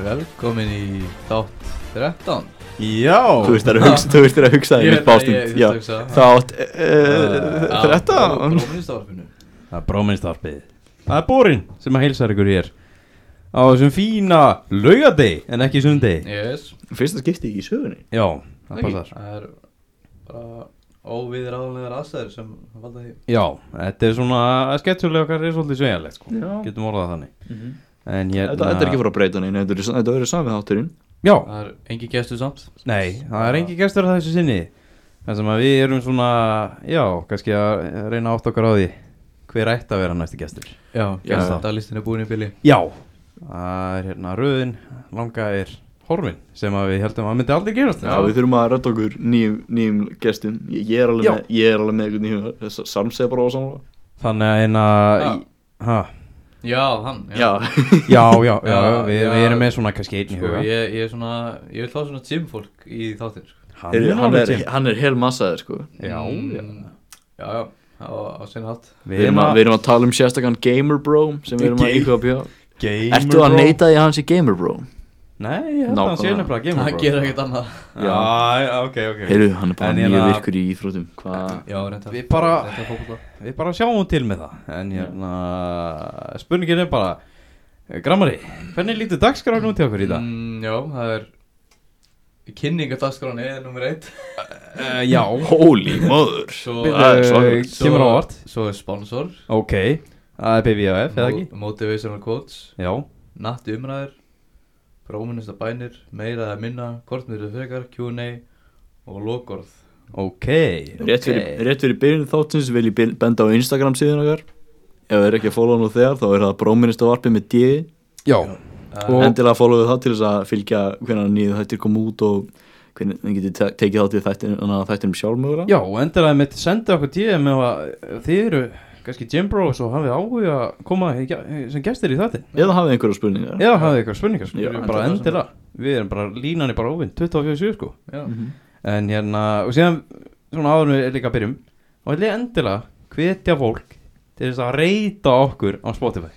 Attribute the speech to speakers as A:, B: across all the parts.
A: Velkomin í þátt 13
B: Já
C: Þú veist það er að hugsa, þú veist það er að hugsa það í mitt bástund Já, eh, þátt
A: Á ah,
C: 13
A: brómiðstafinu
B: Það er brómiðstarpið Það er bórin sem að heilsa ykkur hér Á þessum fína laugadeg en ekki sundeg
A: Yes
C: Fyrsta skipti í sögunni
B: Já, það
A: Ekki?
B: passar
A: Það er bara óviðráðanlegar aðstæður sem valda því
B: Já, þetta er svona sketchulega okkar er svolítið sveigjanlegt sko.
C: Já.
B: Getum orðað það þannig
C: Mhm.
B: En hérna
C: Þetta þetta er ekki fór að breyta neina, þetta er- þetta verður samið þátturinn
B: Já,
A: Það er engi gestu samt
B: nei, það er engi gestur að þessu sinni Það sem að við erum svona Já, kannski að reyna átt okkar á því Hver ætti að vera næsti gestur
A: Já,
C: Já.
A: gestalistin er búin í bili
B: Já Það er hérna röðin Langa er horfin Sem að við heldum að myndi aldrei gerast
C: Já, við þurfum að rætta okkur nýjum, nýjum gestum Ég ég er alveg
B: Já.
C: með, ég er alveg með einhvern nýjum þess að Samsæða bara á samla
B: Þannig að eina
A: Já.
B: ha,
A: Já, hann
C: Já,
B: Já, já, já,
A: Já,
B: við,
A: já.
B: við erum með svona kannski einn í
A: Sko,
B: huga
A: ég, ég er svona Ég vil fá svona gymfólk í þáttin sko.
B: Hann
C: Heyrðu, hann,
B: alveg
C: er,
B: til.
C: hann er hel massaður sko
B: Já, já
A: Mm, Já, já, á, á sinni hátt
C: Við erum, að, við erum að tala um sérstakann Gamer Bro sem við erum að
B: Ga-
C: íkvæða bjóða
B: Gamer
C: Ertu að
B: bro.
C: neyta því að hans er Gamer Bro?
B: Nei, ég held að hann sé
C: Nákvæmlega.
B: nefnilega gamer
A: Það
B: bro
A: gerir ekkert annað
B: Já, já, ok, ok
C: Heyrðu, hann er bara
B: En ég
C: mjög
B: er að-
C: virkur í íþrótum Hvað?
A: Já, reynda
B: Við bara-
A: Reynda fókbóla
B: Við bara sjáum til með það
C: Mm.
B: En hérna, spurningin er bara eh, Grammari, hvernig lítur dagskráin út til okkur í dag?
A: Mm, já, það er Kynningardagskráni er nummer eitt
B: Uh,
C: eh,
B: já
C: Holy mother
A: Svo,
B: Byrju,
C: það er svakalegt.
A: svo-
B: Kemur á vart
A: Svo er sponsor
B: Ok, það er BBF, eða ekki?
A: Mo- Motivational quotes
B: Já,
A: Natti umræður Próminista bænir Meira eða minna Kortmýrðu frekar Q&A Og lokorð
B: ok
C: Rétt fyrir,
B: ok.
C: okay. rétt fyrir byrjun þáttins vil ég bin- benda á Instagram síðan okkar Ef það er ekki að followa nú þegar þá er það bróminist á varpið með D
B: Já,
A: uh,
B: Og-
C: Endilega followa það til þess að fylgja hvernig nýðu þættir kom út og hvernig þið getið te- tekið þátt í þættin, þættinum sjálf mögulega
B: Já, og endilega mitt senda okkur DM ef að þið eru kannski Jim Bros og hafið áhuga að koma í ge- sem gestir í þáttin
C: Eða hafið einhverja spurningar
B: eða hafið eitthvað spurningar sko,
C: Já,
B: við erum bara
A: endilega.
B: endilega við erum bara línan er bara ofinn 24-7 sko
A: Já
B: en hérna, og síðan svona áður en við líka byrjum og ætlum ég endilega hvetja fólk til þess að reyta okkur á Spotify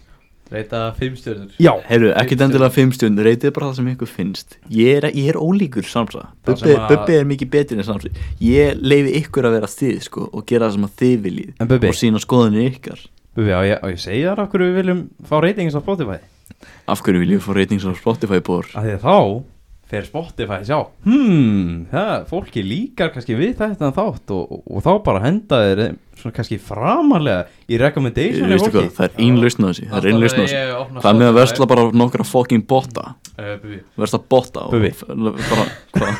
A: Reita fimm stjörnur
B: Já,
C: Heyrðu, ekkert endilega fimm stund, reytið bara það sem ykkur finnst Ég er, ég er ólíkur samsa
B: Það
C: Bubbi,
B: sem að-
C: Bubbi er mikið betur en samsa Ég leifi ykkur að vera þið sko og gera það sem að þið viljið
B: en Bubi,
C: og sína skoðunni ykkar
B: Bubi, á ég, á ég segja þar af hverju við viljum fá reytingins á Spotify
C: Af hverju viljum við fá reytings á Spotify bór?
B: að því að þá fer Spotify sjá hmm, það, fólki líkar kannski við þetta þátt og, og, og þá bara henda þeir eh, svona kannski framarlega í recommendation
C: Veistu hvað, það er ein lausn á þessu Það er ein lausn á þessu Það
A: Það
C: með að versla bara nokkra fucking botta
A: Eh,
C: Versla botta og
B: Bubi.
C: bara, hvað?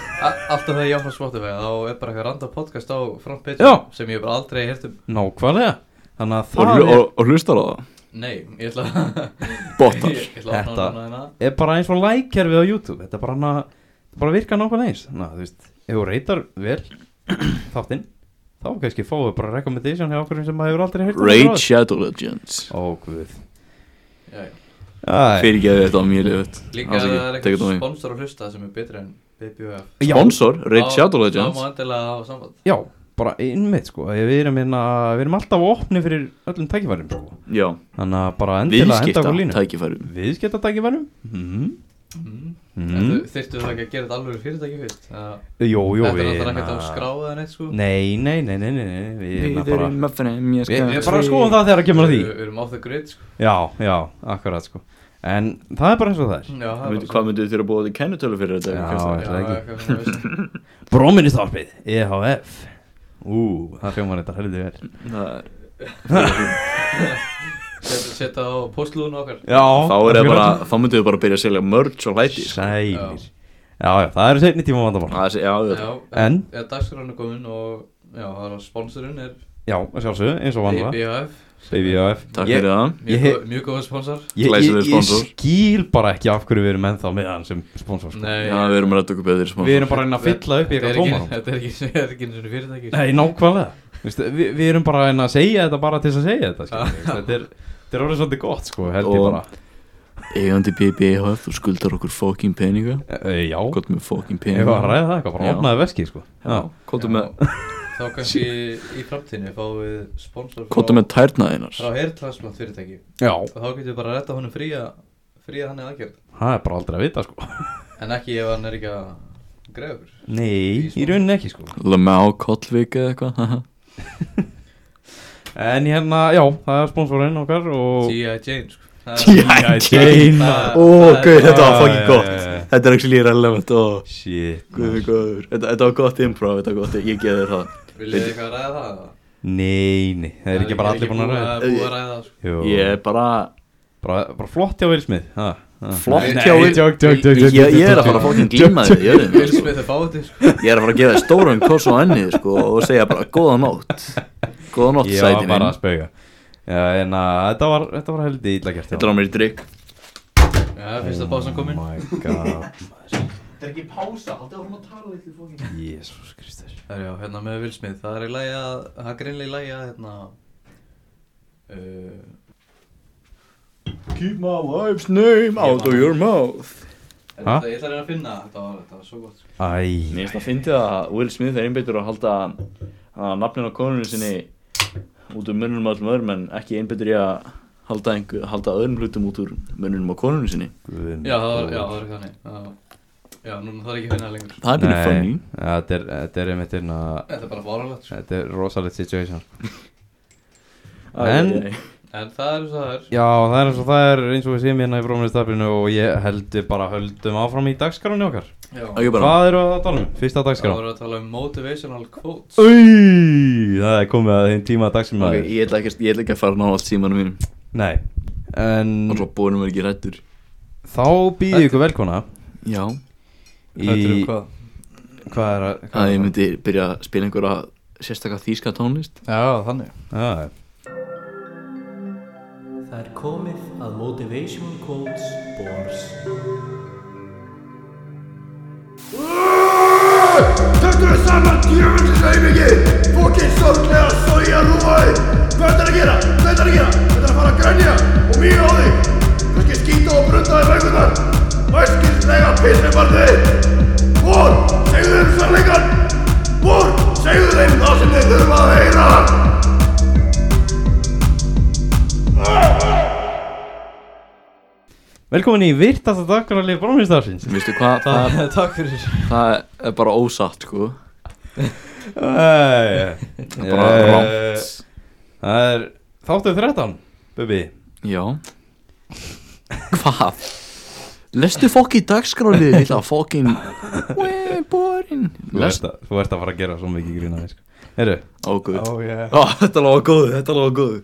A: Alltaf þegar ég opna Spotify Þá er bara eitthvað randa podcast á frontpage
B: Já.
A: Sem ég bara aldrei heyrt um
B: nákvæmlega þannig að
C: og,
B: það
C: hlu- og, og hlustar á það
A: Nei, ég ætla að
C: Bottar
A: Ég ætla að opna
B: Þetta-
A: hana hérna
B: er, er bara eins og lækkerfið á YouTube þetta er bara, hana, þetta bara virka nákvæmlega eins þannig að þú veist, ef þú reytar vel þáttinn, þá kannski fáu bara recommendation hjá okkur sem maður hefur aldrei heyrt um
C: Raid
B: áður.
C: Shadow Legends
B: ó guð
A: Já, já.
B: Æ,
C: Fyrir ekki að þetta var mjög liðut
A: Líka það er eitthvað sponsor að hlusta sem er betri en BBF
B: já,
C: Sponsor, Raid
A: Þá-
C: Shadow
A: Þá
C: Legends
A: má endilega hafa samband
B: já, bara innmitt sko við erum, hérna, við erum alltaf opni fyrir öllum tækifærum sko.
C: Já,
B: Þannig að bara endilega henda
C: viðskipta
B: okkur línu
C: tækifærum
B: Viðskipta tækifærum mm.
A: mm.
B: Mm.
A: Þyrftu það ekki að gera þetta alveg fyrirtæki fyrst Eða-
B: Jó, jó
A: Þetta er
B: við
A: náttúrulega ekkert
B: hérna-
A: að skráða neitt sko
B: Nei, nei, nei, nei, nei, nei Við, hérna bara,
C: meðfrem, ég
B: við, við bara skoðum það þegar að kemur að því
A: Við við erum á það grid sko
B: Já, já, akkurat sko En það er bara eins og það er
A: Já, það er
C: Veitu, Hvað myndu þér að búa til kennutölu fyrir þetta?
B: Já.
C: Kristján?
B: ætlaði ekki.
A: ekki
B: Bróministarpið, EHF E Ú, það hljómar þetta heldur vel
C: Það er-
A: Setta á postlúðun okkar
B: Já,
C: Þá er það bara, þá myndu þið bara byrja að selja merch og hlæti sko.
B: Sælir Já, já, það eru seinni tíma vandamál
C: Það er, já, við
A: Já,
B: En,
A: eða dagskránu komin og Já, það er að sponsorinn er
B: já, að sjálfsögðu, eins og vandamál
A: BBF
B: BBF
C: Takk fyrir það
B: Ég-
A: Mjög góð- Mjög góða sponsor
B: Ég, ég,
C: Glæsilegur
B: ég, ég
C: sponsor.
B: skil bara ekki af hverju við erum ennþá með hann sem sponsor sko.
A: Nei
C: Já, við erum að rætta okkur betur
B: Við erum bara að reyna að fylla upp í
A: Þetta er
B: eitthvað
A: ekki-
B: tómarum
A: Þetta er ekki Þetta er ekki eins og fyrirtæki sko.
B: Nei, nákvæmlega Vistu, vi, Við erum bara að segja þetta bara til þess að segja
A: sko.
B: þetta
A: Ah.
B: skilur við. Þetta er, þetta er orðið svolítið gott sko, held ég
C: Og-
B: bara
C: Eigandi BBHF, þú skuldar okkur fucking peninga
B: e, Já,
C: Gott með fucking
B: ég var að
C: peninga
B: ræða það eitthvað, bara
C: Já.
B: opnaði veski sko. Já,
C: Kóttu
A: Já.
C: með,
A: Þá kannski í framtíðinni fáum við sponsor
C: kóttu
A: frá,
C: með tærnaðinars
A: frá hairtransplant fyrirtæki
B: já,
A: og þá getum við bara að retta honum frí að fríða hann eða aðgerð
B: Það er bara aldrei að vita sko
A: En ekki ef hann er ekki að greiða okkur
B: Nei, í rauninni ekki sko
C: Lemá Kollvik eða eitthvað haha.
B: En hérna, já, það er sponsorinn okkar og
A: G.I. Jane sko Það-
C: G.I. Jane.
A: Það-
C: Ó,
A: það-
C: gauð, þetta var
B: Já,
C: fucking
B: já,
C: gott
B: já, já.
C: Þetta er actually relevant og
B: Shit
C: Guð minn góður Þetta þetta var gott improv, þetta var gott, ég geði þér það
A: Viljið þið eitthvað að ræða það?
B: Nei, nei, það er ekki bara allir búin að ræða
A: Það er búið að ræða það sko
B: Jú,
C: Ég er bara,
B: bara, bara flott hjá Vilsmið
C: Flott
B: nei,
C: hjá
B: nei,
C: Will-
B: tjók, tjók, tjók,
C: ég,
B: tjók,
C: ég
B: tjók,
C: er að fara
B: tjók.
C: að fucking glíma þér í jörðinni,
A: Will
C: sko.
A: Smith er bátið sko
C: Ég er að fara að gefa þér stóran koss á ennið sko, og segja bara góða nótt Góða nótt
B: Ég
C: sæti
B: var
C: minn
B: bara að spauga Já, en að þetta var, þetta var heldig illa gert
C: Þetta er á mér í drikk
A: Já, fyrsta pásan komin
B: Oh my god,
D: Þetta er ekki pása, haldið áfram að tala litlu fókin
B: Jésús Kristur
A: Það er já, hérna með Will Smith Það er í lagi að, það er greinlega í lagi að hérna uh,
C: Keep my wife's name out of your mouth
A: Ég
B: Ha?
A: ætla ég ætla að reyna að finna það, þetta var, þetta var svo gott sko.
B: Æ,
C: Mér finnst að fyndi að Will Smith er einbyttur að halda að nafnin á konunum sinni út úr munnum allum öðrum en ekki einbyttur í að halda, einhver, halda öðrum hlutum út úr munnum á konunum sinni
B: guðum
A: Já, það var, já, það var ekki þannig Það var- Já, núna þarf ekki að finna það lengur
C: Það er byrju funny
B: Þetta er, þetta er einmitt hérna
A: Þetta er bara fáralegt sko.
B: Þetta er rosalegt situation sko.
C: Æ,
B: En-
C: æ, æ.
A: En það er svo það er
B: Já, það er eins og það er eins og við séum hérna í frámlistaflinu og ég heldur bara höldum áfram í dagskránni okkar
A: Já,
C: Á, ég bara
B: Hvað eru að tala um? Fyrsta
A: það
B: dagskrán
A: voru að tala um motivational quotes
B: Új, það er komið að þeim tíma dagskránni
C: Ok, ég ætla ekki, ég ætla ekki að fara að ná allt símanum mínum
B: Nei, en
C: Og svo búinum er ekki rættur
B: þá býðu ykkur velkona
C: Já
B: í
A: Þetta eru hvað?
B: Hvað er að
C: Að ég myndi byrja að spila einhverja sérstakar þýska tónlist
A: Já, þannig
B: Já, já.
D: Það er komið að Motivational Quotes Bors
E: Takk fyrir saman, djöfum til sæmingi Fokkin sorglega soja rúmaði Hvað þetta er að gera? Hvað þetta er að gera? Þetta er að fara að grænja og mýra á þig Kannski skýta og brunda þig vegundar Væskilslega pissi barði Vor, segðu þeim sannleikan Vor, segðu þeim það sem þeir þurfa að heyra
B: Velkomin í virtasta dagkvæmlega brómiðstafsins
C: Veistu hvað, það,
A: Takk fyrir
C: það er bara ósatt sko Bara
B: Það
C: rámt
B: er þáttu 13, Bubi
C: Já Hvað? Lestu fokk í dagskráli Ég ætla að fokkin Wee, borin
B: Þú ert að þú ert að fara að gera svo mikið grínaði sko. Heru,
C: Ágúð
A: Oh yeah
C: Ó, þetta lofa góðu, þetta lofa góðu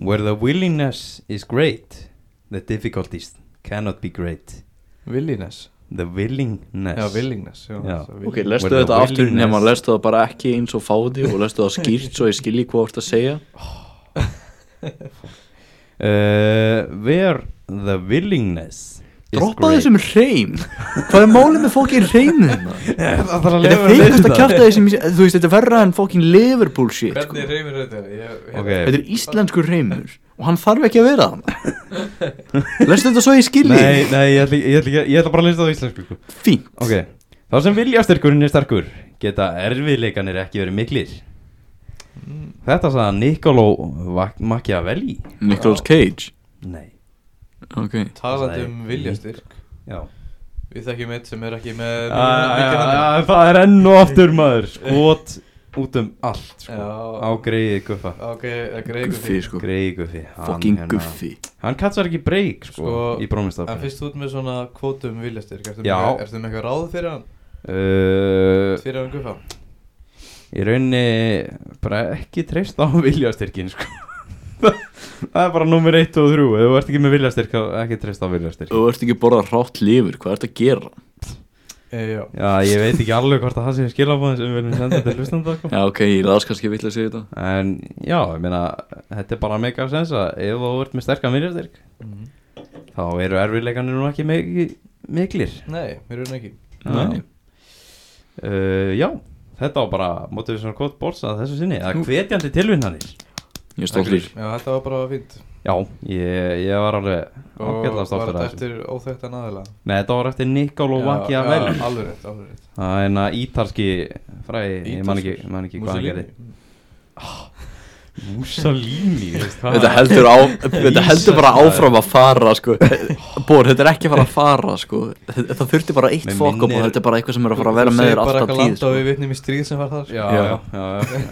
B: Where the willingness is great The difficulties cannot be great
A: Williness
B: The willingness
A: Já, willingness já,
B: Já.
A: svo
C: Ok,
A: willing-
C: lestu
B: Where the
C: þetta aftur
B: willingness-
C: nema lestu það bara ekki eins og fáði og lestu það skýrt svo ég skilji hvað þú ert að segja
B: uh, Where the willingness is
C: Droppa
B: great
C: þessum hreim Hvað er málið með fokkin hreimum?
B: Það þarf að
C: Þetta
B: leyfa
C: er
B: að
C: feikast að
B: leysa.
C: kjarta þessum Þú veist, þetta er verra en fokkin Liverpool shit sko.
A: Hvernig reymir þetta? Ég, ég,
B: Ok.
C: Þetta er íslenskur hreimur Og hann þarf ekki að vera hann Lestu þetta svo ég skilji
B: Nei, nei, ég ætla, ég, ætla, ekki- ég ætla bara að lista það á íslensku sko.
C: Fín
B: Ok, þá sem viljastyrkurinn er sterkur geta erfiðleikanir ekki verið miklir Þetta sagði Niccolo Vac- Machiavelli
C: Nicolas Cage
B: Nei,
C: Ok
A: Talandi um viljastyrk
B: já
A: Við þekkjum eitt sem er ekki með
B: Æ,
A: mikið hann
B: æ, æ, ah, Það er enn og aftur maður skot út um allt sko. á
A: Já,
B: greiði guffa
A: ok, það greiði
C: Guffi sko
B: greiði guffi hann,
C: Fucking
B: hérna-
C: Guffi
B: Hann katsar ekki breyk sko,
A: Sko,
B: í
A: En
B: brómiðstafni
A: fyrst út með svona kvótum viljastyrk Ertu
B: Já.
A: með ertu með eitthvað ráð fyrir hann?
B: uh,
A: Fyrir hann guffa?
B: Í rauninni bara ekki treyst á viljastyrkin sko. Það er bara nummer 1 og 3 Ef þú ert ekki með viljastyrk þá ekki treyst á viljastyrk
C: Þú ert ekki að borða rátt lifur Hvað ert að gera?
A: E, já
B: Já, ég veit ekki alveg hvort að það sé skilabóðin sem við viljum senda til hlustanda sko.
C: Já ok, ég las kannski vill að segja þetta
B: En já, ég meina Þetta er bara mega sens að ef þú ert með sterkan viljastyrk
A: Mhm.
B: þá eru erfiðleikanir nú ekki mik- miklir
A: Nei, mér erum ekki
C: Nei.
B: uh, Já, þetta var bara mótið við svona kvot bóls að þessu sinni að hvetjandi tilvinnanir
C: Ég er stoltur
A: Já, þetta var bara fínt
B: Já, ég, ég var alveg
A: Og
B: ágætlega
A: var
B: stoltur
A: þetta
B: af þessu
A: eftir óþættan aðila
B: Nei, þetta var eftir Niccolo Machiavelli
A: Alveg rétt, alveg rétt
B: Það er hérna ítalski fræði, ég man ekki,
A: Ítalskur.
B: man ekki hvað hann
A: Mussolini.
B: gerði Mussolini þú veist, hvað-
C: Þetta heldur, á, þetta
B: Jesus,
C: heldur bara áfram að fara sko. Bór, þetta er ekki að fara að fara sko. Þetta- Það þurfti bara eitt
B: Mér
C: fokk og
B: minnir-
C: þetta er bara eitthvað sem er að fara að vera með þér alltaf
A: sko.
C: tíð sko.
A: Við vitnum í stríð sem var þar
B: Já,
C: Já.
B: já, já, já,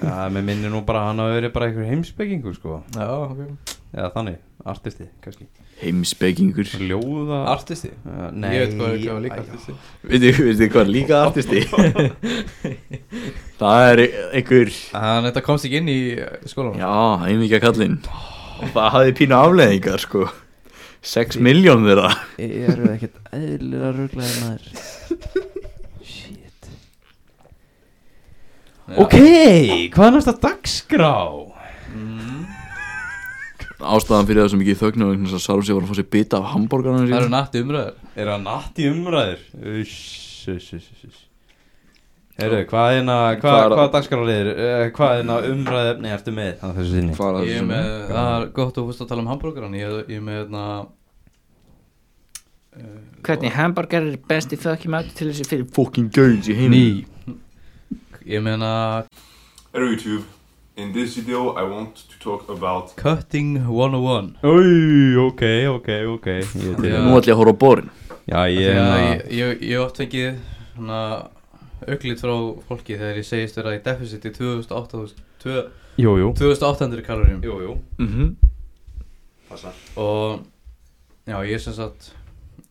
B: já Mér minnir nú bara að hann hafa verið bara einhver heimspekingur sko
A: Já, ok.
B: Eða þannig, artisti, kannski
C: Heimspekingur
B: Ljóða
A: Artisti
B: Uh,
A: Nei
B: nei,
A: Ég veit hvað ég var líka
B: æ,
A: artisti
C: Veitu veitu hvað er líka artisti? Það er einhver
A: Þannig þetta komst ekki inn í eh, skólanum
C: Já, heimvíkja kallinn Og það hafði pínu afleðingar sko 6 miljón þeirra
B: Eru það ekkert eðlilega rugglaðið maður Shit Ok, hvað er næsta dagskrá?
C: Ástæðan fyrir það sem ekki þögnu vegna þess að Sarfsi var að fá sér bita af hambúrgarna
A: Það eru
C: sín
A: nætti umræður
B: Er það natt í umræður? Uss, uss, uss, uss, uss Heyrðu, hvað er það, hvað,
C: Hvað er-
B: hvað dagskráliðir, uh, hvað er það umræðefni ertu með? Það þessu sinni
C: Fara
A: Ég
C: þessu
A: er
C: sinni.
A: með Það er gott að fórst að tala um hambúrgaran Ég ég er með hérna
F: Hvernig hamburger er besti fucking matur til þessi fyrir
C: Fucking gains í heim
A: Ný Ég hérna, meina
E: Hello YouTube, in this video I want to talk about
A: Cutting 101
B: Új, ok, ok, ok Ég er til
A: Já.
B: í-
C: Nú ætla ég að horfa á borin
B: Já, ég hérna-
A: Þegar
B: er
A: ég,
B: að
A: ég, ég oft fengið hana, auklít frá fólki þegar ég segist vera í deficit í 2800 tvö-
B: Jú, jú
A: 2800 kaloríum
B: Jú, jú
C: Mhm.
A: og já ég sem sagt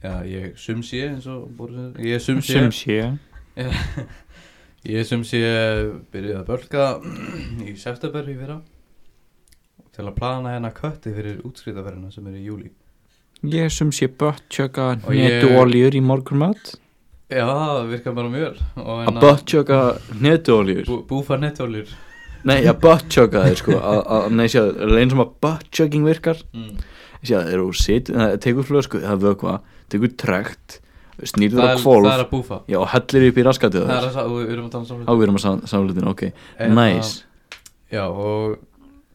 A: já, ég sumsi eins og búið, ég sumsi
F: Sumsi
A: ég sumsi byrjaði að bölka í september í fyrra til að plana hérna kötti fyrir útskritaferðina sem er í júli
F: Ég sumsi bött tjöka
A: Og ég-
F: netu oljur í morgunmat
A: já það virkar bara mjög vel. og hérna
C: Að buttjöka netuoljur
A: bú, búfa nettólir
C: Nei, að buttjöka þeir sko að, að, Nei, séu, eins og maður buttjöking virkar
A: mm.
C: Séu, þeir eru sitt Tekur flösku, það vökva Tekur trekt, snýrður
A: það,
C: á
A: er- það er
C: kvolf
A: að búfa
C: Já, og hellir upp í raskatið á
A: það
C: þér.
A: er að, og við erum að tala um samlega
C: Ávírum að samlutin, ok
A: Eða-
C: Nice
A: Já og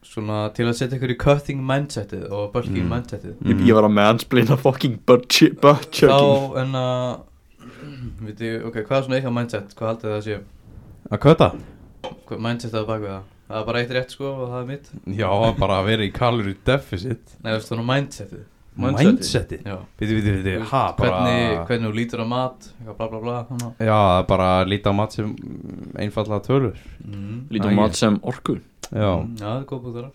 A: svona til að setja ykkur í cutting mindsetið og bulking
C: Mm.
A: mindsetið
C: Ég, ég var að meðansplina fucking butt- buttjöking
A: Þá en að veit ég, ok, hvað er svona eitthvað mindset, hvað haldið það að sé
B: Að köta?
A: Hvað- mindsetið á bakvið það, það er bara eitt rétt sko og það er mitt,
B: Já, bara að vera í calorie deficit
A: nei veist svona mindsetið
B: Mindsetið?
A: Já,
B: Býtu, býtu,
A: Þú
B: býtu,
A: veist,
B: ha, bara
A: hvernig, hvernig þú lítur á mat, eitthvað bla bla bla hana.
B: Já, bara að líta á mat sem einfallega tölur
A: Mm.
C: Lítum
B: Æ,
C: mat sem orku
B: Já,
A: Já, það er góð búið þar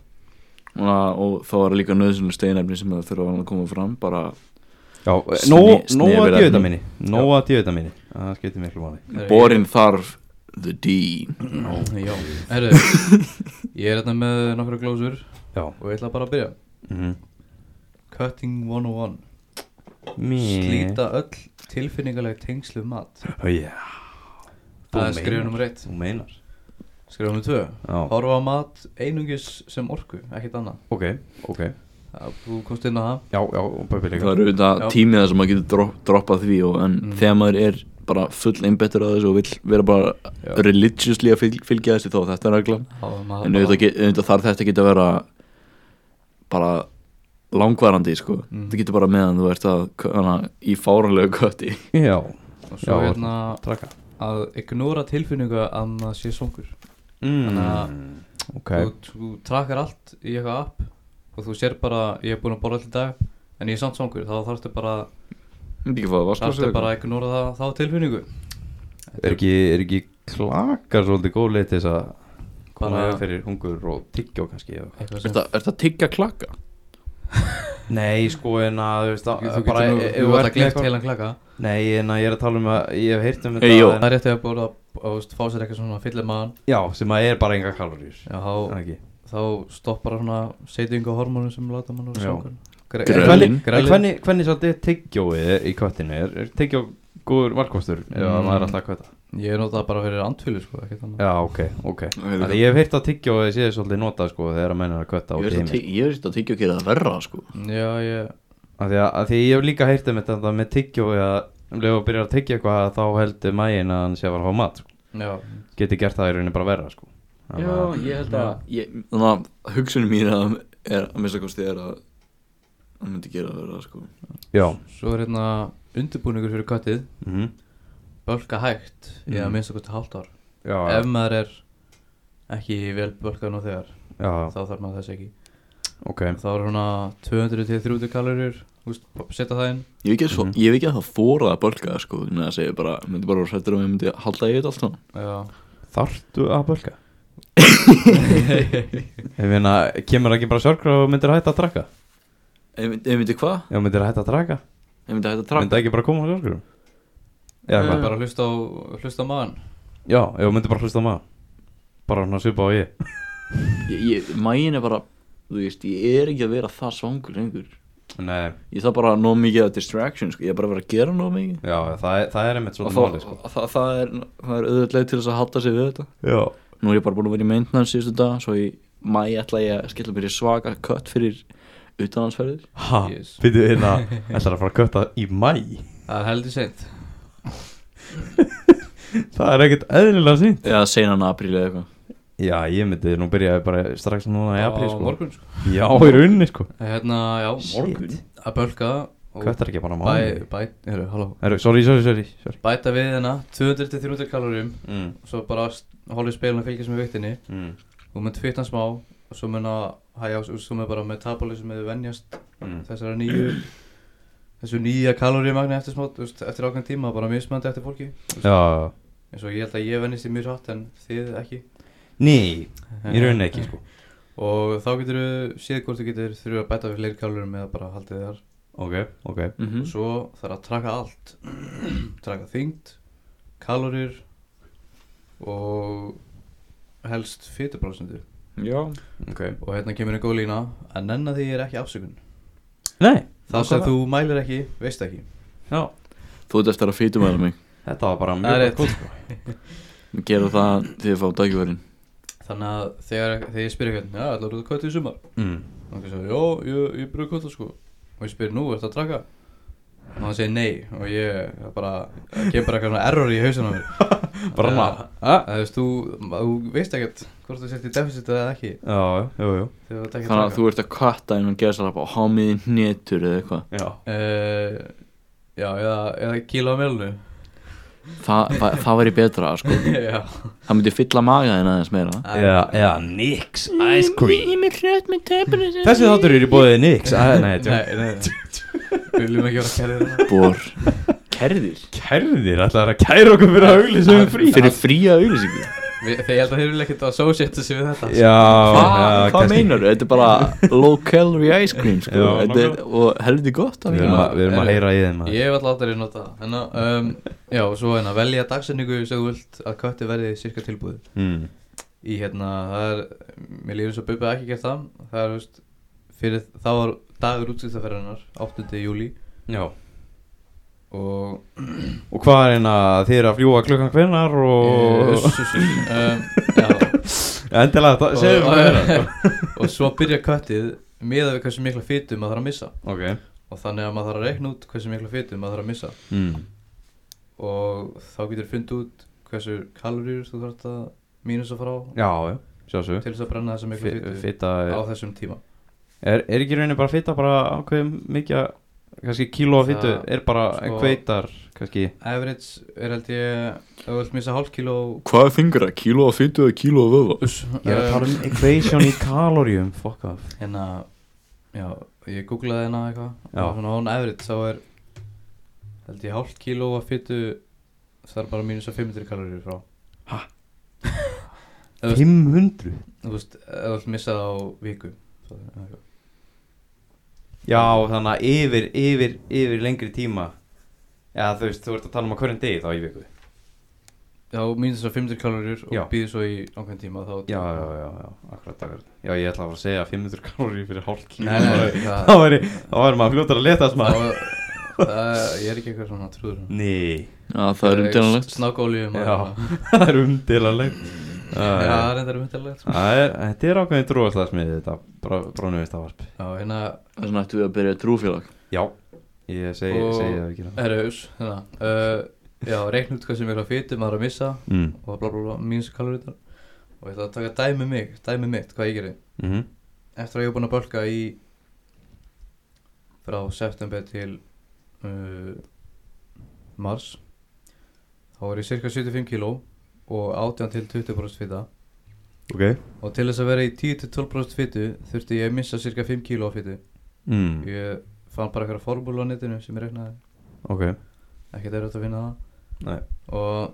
C: Svona, og þá var líka nöðsynlega steinefni sem það þurfa að koma fram bara,
B: já eh,
C: Sne-
B: nóg nóg
C: snefir
B: að
C: efni.
B: djöðdaminni Nóg að djöðdaminni Það skiptir miklu máli
C: borin þarf the D
A: Já, herru Ég er hérna með nokkra glósur
B: Já.
A: og ég ætla bara að byrja
B: Mhm.
A: Cutting 101
B: Mé-
A: Slíta öll tilfinningaleg tengslu mat
B: Ó, Já
A: Það er
B: Oh, Þú
A: skrifum
B: meinar.
A: nummer 1
B: Þú meinar
A: Skrifum nummer 2
B: Já,
A: Horfa á mat einungis sem orku, ekkert annað
B: ok, ok
A: Það- Þú komst inn á það
B: Já, já, og Böbbi
C: það
B: líka
C: eru auðvitað
A: Já.
C: tímið sem maður getur drop, droppað því og, en
A: Mm.
C: þegar maður er bara full einbettur að þessu og vill vera bara
A: Já.
C: religiously að fylg, fylgja þessu þá er þetta er reglan
A: Háðum að
C: en auðvitað, get- auðvitað þarf þetta ekki að vera bara langvarandi sko.
A: Mm.
C: þetta getur bara meðan þú ert að hana, í fáranlegu kötti
B: Já,
A: Og svo
B: Já,
A: hérna
B: traka
A: að ignora tilfinningu að maður sé songur Þannig að-
B: Mm, Ok
A: þú, þú trakkar allt í eitthvað app og þú sér bara, ég er búin að borða allir dag en ég er samt songur, þá þarfstu bara
C: Myndi ekki fá það
A: þarfstu
C: vasklasa
A: bara að ignora það, þá tilfinningu
B: Er ekki, er ekki klakar svolítið góð leið til þess að koma
A: Bara-
B: hefur fyrir hungur og tyggjó kannski eða-
A: Eitthvað
C: Er þetta tyggja klaka?
B: Nei, sko, en að þú veist að
A: Þú
B: bara,
A: getur nú,
B: ef- ef
A: e- þú
B: þú
A: ert
B: ert
A: að gleypt
B: eitthvað-
A: heilan klaka
B: Nei, en að ég er að tala um að ég hef heyrt um
C: Hey, jó.
A: Það
B: en,
A: er rétt að borða, að veist, fá sér eitthvað svona fyllir maðan
B: Já, sem að er bara enga kaloríur
A: Já, þá,
B: ekki
A: þá stoppar svona setjingu á hormónum sem láta mann úr
B: Já.
A: sjókan
C: Grelin.
B: Hvernig,
A: Grelin.
B: hvernig, hvernig svolítið tyggjóið er í köttinu? Er, er tyggjó góður valkostur? Mm. Já,
A: Mm.
B: maður er alltaf að kötta
A: Ég nota það bara fyrir andfylu sko, ekkert annað
B: Já, ok, ok
C: Ég veit
B: Þannig ég hef heyrt að tyggjóið séð svolítið notað sko þegar að menna að kötta á
C: Ég veist að
B: geimi
C: tyg- ég veist að tyggja gera það verra sko
A: Já, ég,
B: Af því að af því að ég hef líka heyrt um þetta þetta með tyggjóið að um leið og byrjar að tyggja eitthvað þá heldur mægin að hann sé að fara að fá mat sko.
A: já,
B: Geti gert það í rauninni bara verra sko Þannig að-
C: ég held að ég, Þannig að hugsunum mín er, er að missa kosti er að hann myndi gera það verra sko
B: Já
A: svo er hérna undirbúningur fyrir kattið
B: mm.
A: Bölka hægt, mm. ég að minnst okkur til hálft ár
B: Já,
A: Ef maður er ekki vel bölkað nú þegar
B: já,
A: þá þarf maður þess ekki
B: ok
A: þá er svona 200 til 300 kalorir úst, setja það inn
C: Ég hef ekki, mm
B: Mhm.
C: ég hef ekki að það fóra að bölka sko, þannig að segja bara, myndi bara voru hrættur um að ég myndi halda í þetta allt saman
A: já,
B: Þartu að bölka? Ég meina, kemur ekki bara sjálfkrá og myndir hætta að drakka?
C: Ef ég myndi- ef ég myndi hvað?
B: Já, myndir hætta að drakka?
C: Ef ég myndi hætta að
B: Myndi
C: trakka?
B: ekki bara koma á sjálfkrá? Já,
A: bara,
B: hvað?
A: bara hlusta á hlusta á maðan
B: Já, ég myndi bara hlusta á maður Bara hann að svipa á ég
C: Ég, ég, magin er bara, þú veist, ég er ekki að vera það svangur lengur
B: Nei,
C: Ég þarf bara nóg mikið að distraction, sko, ég er bara að vera að gera nóg mikið
B: já, það er, það er einmitt
C: Og
B: svolítið
C: það,
B: máli, sko
C: það, það er, það er auðvitað til þess að halda sig við þetta
B: Já,
C: Nú er ég bara búin að vera í maintenance síðustu dag Svo í mæ ætla ég að skella mér í svaka kött fyrir utanhansferðir
B: ha,
A: Yes.
B: byrju hérna Ætlar að fara að kötta í mæ
A: það er heldur seint
B: Það er ekkert eðlilega sínt
C: Eða seinan apríl eða eitthvað
B: Já, ég myndi nú byrjaði bara strax núna í apríl,
A: á
B: sko
A: morgun sko.
B: Já, í rauninni, sko
A: hérna, já, morgun að bölka og
B: Köttar ekki bara á
A: bæ,
B: mánu
A: bæ, heru, halló,
B: Sorry, sorry, sorry, sorry.
A: bæta við hérna 200 til 300 kalorum
B: Mm,
A: svo bara hólið spilin að fylgjast með viktinni
B: mm,
A: þú mun tvittan smá og svo mun að hægja og svo mun bara metabolism eða venjast
B: mm.
A: þessara nýju þessu nýja kaloríumagni eftir smá þú veist, eftir ákveðin tíma bara mismandi eftir fólki
B: Já, já
A: eins og ég held að ég vennist í mjög hratt en þið ekki
B: Nei, í rauninni ekki sko
A: og þá getur þú séð hvort þú getur þurfa að bæta við fleiri kaloríum eða bara haldið þér
B: Ok, ok
C: mm
A: og svo þarf að traka allt traka þyngd kalorir og helst fytuprosendur
C: Já
B: okay.
A: og hérna kemur einn góð lína að nennan því er ekki afsökun
B: Nei,
A: það sem þú mælir ekki, veist ekki
B: já,
C: Þú ert eftir að fýtum aðra mig
B: þetta var bara
A: Það er
B: mjög
A: rétt.
B: gott sko
C: Ég gera það þegar ég fá dagjöfærin
A: þannig að þegar, þegar ég spyrir hvernig já, ætlar þú að köttu í sumar
B: mm.
A: og hann segir, já, ég, ég brúið köttu sko og ég spyr, nú, ertu að traka? og hann segir nei og ég það bara, það kemur bara eitthvað svona error í hausinu
B: Bara
A: Já.
B: maður Já,
A: þú veist, þú, þú veist ekkert hvort þú sért í deficit eða ekki
B: já, jú, jú
A: þegar þú ert ekki
C: Þannig að þú ert að kvarta innan geðsalapa og hámiði hnetur eða eitthvað
B: Já,
A: Uh, já, eða, eða kíla á melnu
C: Þa, það, það væri betra sko
A: Já,
C: Það myndi fylla maga þinn aðeins meira
B: eða, eða Nix Ice Cream
F: er hrött með tepinu sem
B: Þessi þáttur er í bóðið Nix Æ, Nei,
A: nei,
B: tjó
A: nei, nei. Við viljum ekki vera kærið þarna.
C: Bor Kerðir
B: Kærðir, ætlaður að kæra okkur fyrir að auglýsa um frí
C: Fyrir fría auglýsingu
A: Við- Þegar ég held að þeir vilja ekkert að associate sig við þetta
B: Já, já,
C: Hva, Hvað meinar Þetta er bara low calorie ice cream sko.
B: Já,
C: Þetta er- Og heldur gott að
B: Við erum að, við erum að
A: Herri,
B: heyra í þeim maður.
A: Ég hef alltaf aldrei nota það Þannig að, um, já, og svo hérna velja dagsetningu sem þú vilt að kötti verði cirka tilbúið
B: mm.
A: Í hérna, það er, mér líður svo Bubba ekki gert það Það er, þú veist, fyrir, það var dagur útskiptaferðarnar, 8. júli
B: Já
A: Og
B: Og hvað er hérna, þið eru að fljúa klukkan hvenar og
A: Uss, uss, uss. um, Já,
B: Endilega, segðu
A: og,
B: hvað er það
A: og svo byrja köttið miðað við hversu mikla fytu maður þarf að missa
B: Ok
A: og þannig að maður þarf að reikna út hversu mikla fytu maður þarf að missa
B: mm.
A: og þá getur fundið út hversu kaloríur þú þarf að mínus að fara á
B: Já, já, sjálfsög
A: til þess að brenna þessa mikla fytu
B: Fita
A: á
B: er,
A: þessum tíma
B: er, er ekki raunin bara fita bara ákveðum mikið að- kannski kíló
A: Það-
B: af fitu er bara
A: sko-
B: kveitar kannski
A: average er held ég ef þú vilt missa hálf kíló
C: Hvað er fingra? Kíló að fytu eða kíló að vöða?
A: uss,
B: Ég er að tala um equation í kaloríum Fuck off
A: hérna já, ég googlaði hérna eitthvað
B: Já.
A: og svona án average þá er held ég hálf kíló að fytu þarf bara mínus að 500 kaloríur frá Þú veist-
B: 500
A: þú veist, eða allt missa það á viku Svo- eitthvað.
B: Já, þannig að yfir, yfir, yfir lengri tíma Já, þú veist, þú ert að tala um að hverjum degi þá í viku
A: já, mínus þessar 500 kalorir
B: Já.
A: og býður svo í ákveðin tíma þá
B: Já, já, já, já, akkurat, akkurat Já, ég ætla að fara að segja 500 kalorí fyrir hálf kíló
A: Nei, nei,
B: Þá
A: það,
B: væri, þá væri maður fljótar að leta þess
A: það,
B: maður
A: það, það ég er ekki eitthvað svona trúður
B: Nei,
C: Já, það er umdélanlegt
A: snákóli um
B: Já. það er umdélanlegt
A: já, það er sko. enda umhættilegt
B: Það er, þetta er ákveðin trúaslagsmiði þetta brónuðist aðvarp
A: já, hérna,
C: Það er svona ættu við að byrja trúfélag
B: Já Ég segi,
A: Og-
B: segi það ekki það
A: herra, us hérna, uh, já, reikn út hvað sem er að fytu maður er að missa
B: mm.
A: og bla bla bla, mínus kalorir og ég ætla að taka dæmi um mig, dæmi mitt, hvað ég gerir
B: mm -hmm.
A: eftir að ég er búinn að bölka í frá september til uh, mars þá er ég cirka 75 kíló og 18 til 20 brúst fita
B: Ok
A: Og til þess að vera í 10-12% fytu þurfti ég að missa cirka 5 kíló af fytu
B: mm.
A: Ég fann bara eitthvað formúlu á netinu sem ég reiknaði
B: Ok
A: Ekkert er að finna það
B: Nei
A: Og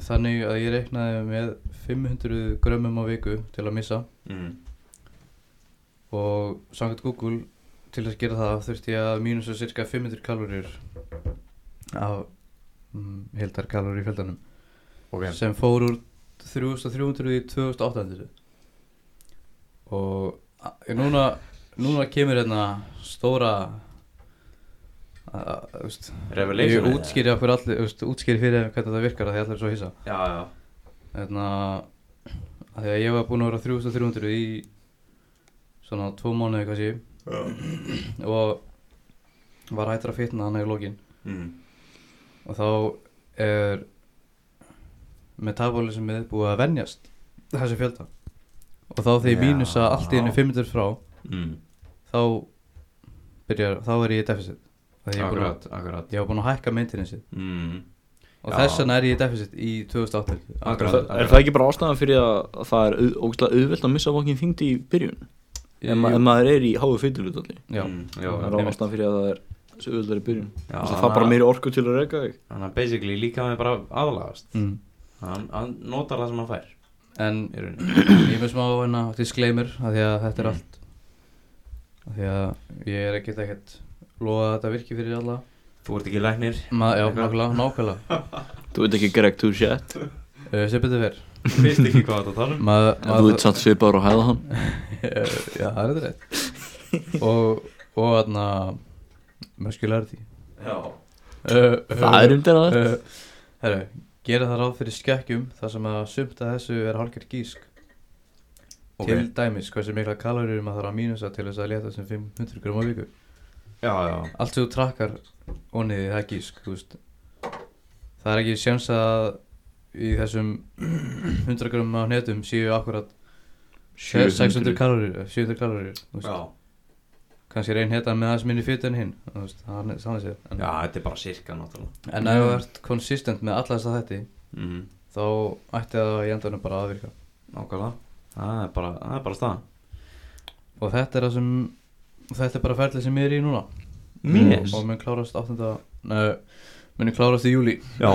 A: þannig að ég reiknaði með 500 grömmum á viku til að missa
B: mm.
A: Og samkvæmt Google til þess að gera það þurfti ég að mínusa cirka 500 kalorir af mm, heldar kalorir í fjöldanum
B: Ok
A: sem fór úr 3300 í 2800 og a- núna, núna kemur hérna stóra a- a- þú veist, ég
B: Revelation
A: útskýri, okkur allir, þú veist, útskýri fyrir þeim hvernig það virkar af því allir er svo hissa
B: Já, já
A: Þannig að því að ég var búinn að vera 3300 í svona tvo mánuði kannski og var hættur að fitna þannig í lokin
B: mm.
A: og þá er metabolismið búið að venjast þessu fjölda og þá þegar ég
B: Já.
A: mínusa allt í henni 500 frá
B: Mm.
A: þá byrjar, þá er ég í deficit Því ég er búinn að-
B: Akkurat, akkurat
A: ég var búinn að hækka maintenance
B: mm.
A: og
B: Já.
A: þess vegna er ég í deficit í 2008
B: Akkurat.
C: Það- Er það ekki bara ástæðan fyrir að að það er au- ógeðslega auðvelt að missa fokkin þyngd í byrjun ef ma- ef maður er í háu fytulut
A: já,
B: mm. Já,
C: Það er
B: einmitt.
C: ástæðan fyrir að það er svo auðvöldar í byrjun
B: Já,
C: Það
B: þannig
C: er bara
B: að-
C: meiri orku til að reyka þig
B: Þannig að basically líka hann er bara aðlagast
A: mm.
B: Hann, hann notar það sem hann fær
A: en
B: í rauninni
A: ég er með smá hérna, disclaimer af því að þetta er allt af því að ég er ekkert ekkert lofa að þetta virki fyrir alla
B: Þú ert ekki læknir
A: Ma, já,
B: Eitthvað.
A: nákvæmlega, nákvæmlega
C: Þú veit ekki Greg Touchette
A: uh, sem betur fyrr
B: Þú veist ekki hvað þetta tala um
A: maður, Eh,
C: Þú veit satt svipar og hæða hann
A: já, það er þetta rétt og, og þarna muscularity
B: Já
A: uh,
C: Það er um þeirra þetta
A: uh, herru, gera það ráð fyrir skekkjum þar sem að sumt að þessu er hálfgerð gísk
B: Ok.
A: til dæmis hversu mikla kalorir maður þarf að mínusa til þess að leta sem 500 gram á viku
B: Já, já
A: allt sem þú trakkar onnið það er gísk þú veist. það er ekki sjans að í þessum 100 gram á hnetum séu akkurat 600 kalorir 700 kalorir þú veist. kannski reyn hérna með aðeins minni fytu en hinn þú veist, það er þannig séð en,
B: Já, þetta er bara sirka náttúrulega
A: en ef þú ert konsistent með alla þess að þetta
B: mm.
A: þá ætti það í endanum bara að virka
B: Nákvæmlega Það er bara, það er bara staðan
A: og þetta er það sem þetta er bara ferlið sem ég er í núna
B: Yes.
A: og mun klárast 8. Nei, mun klárast í júli
B: Já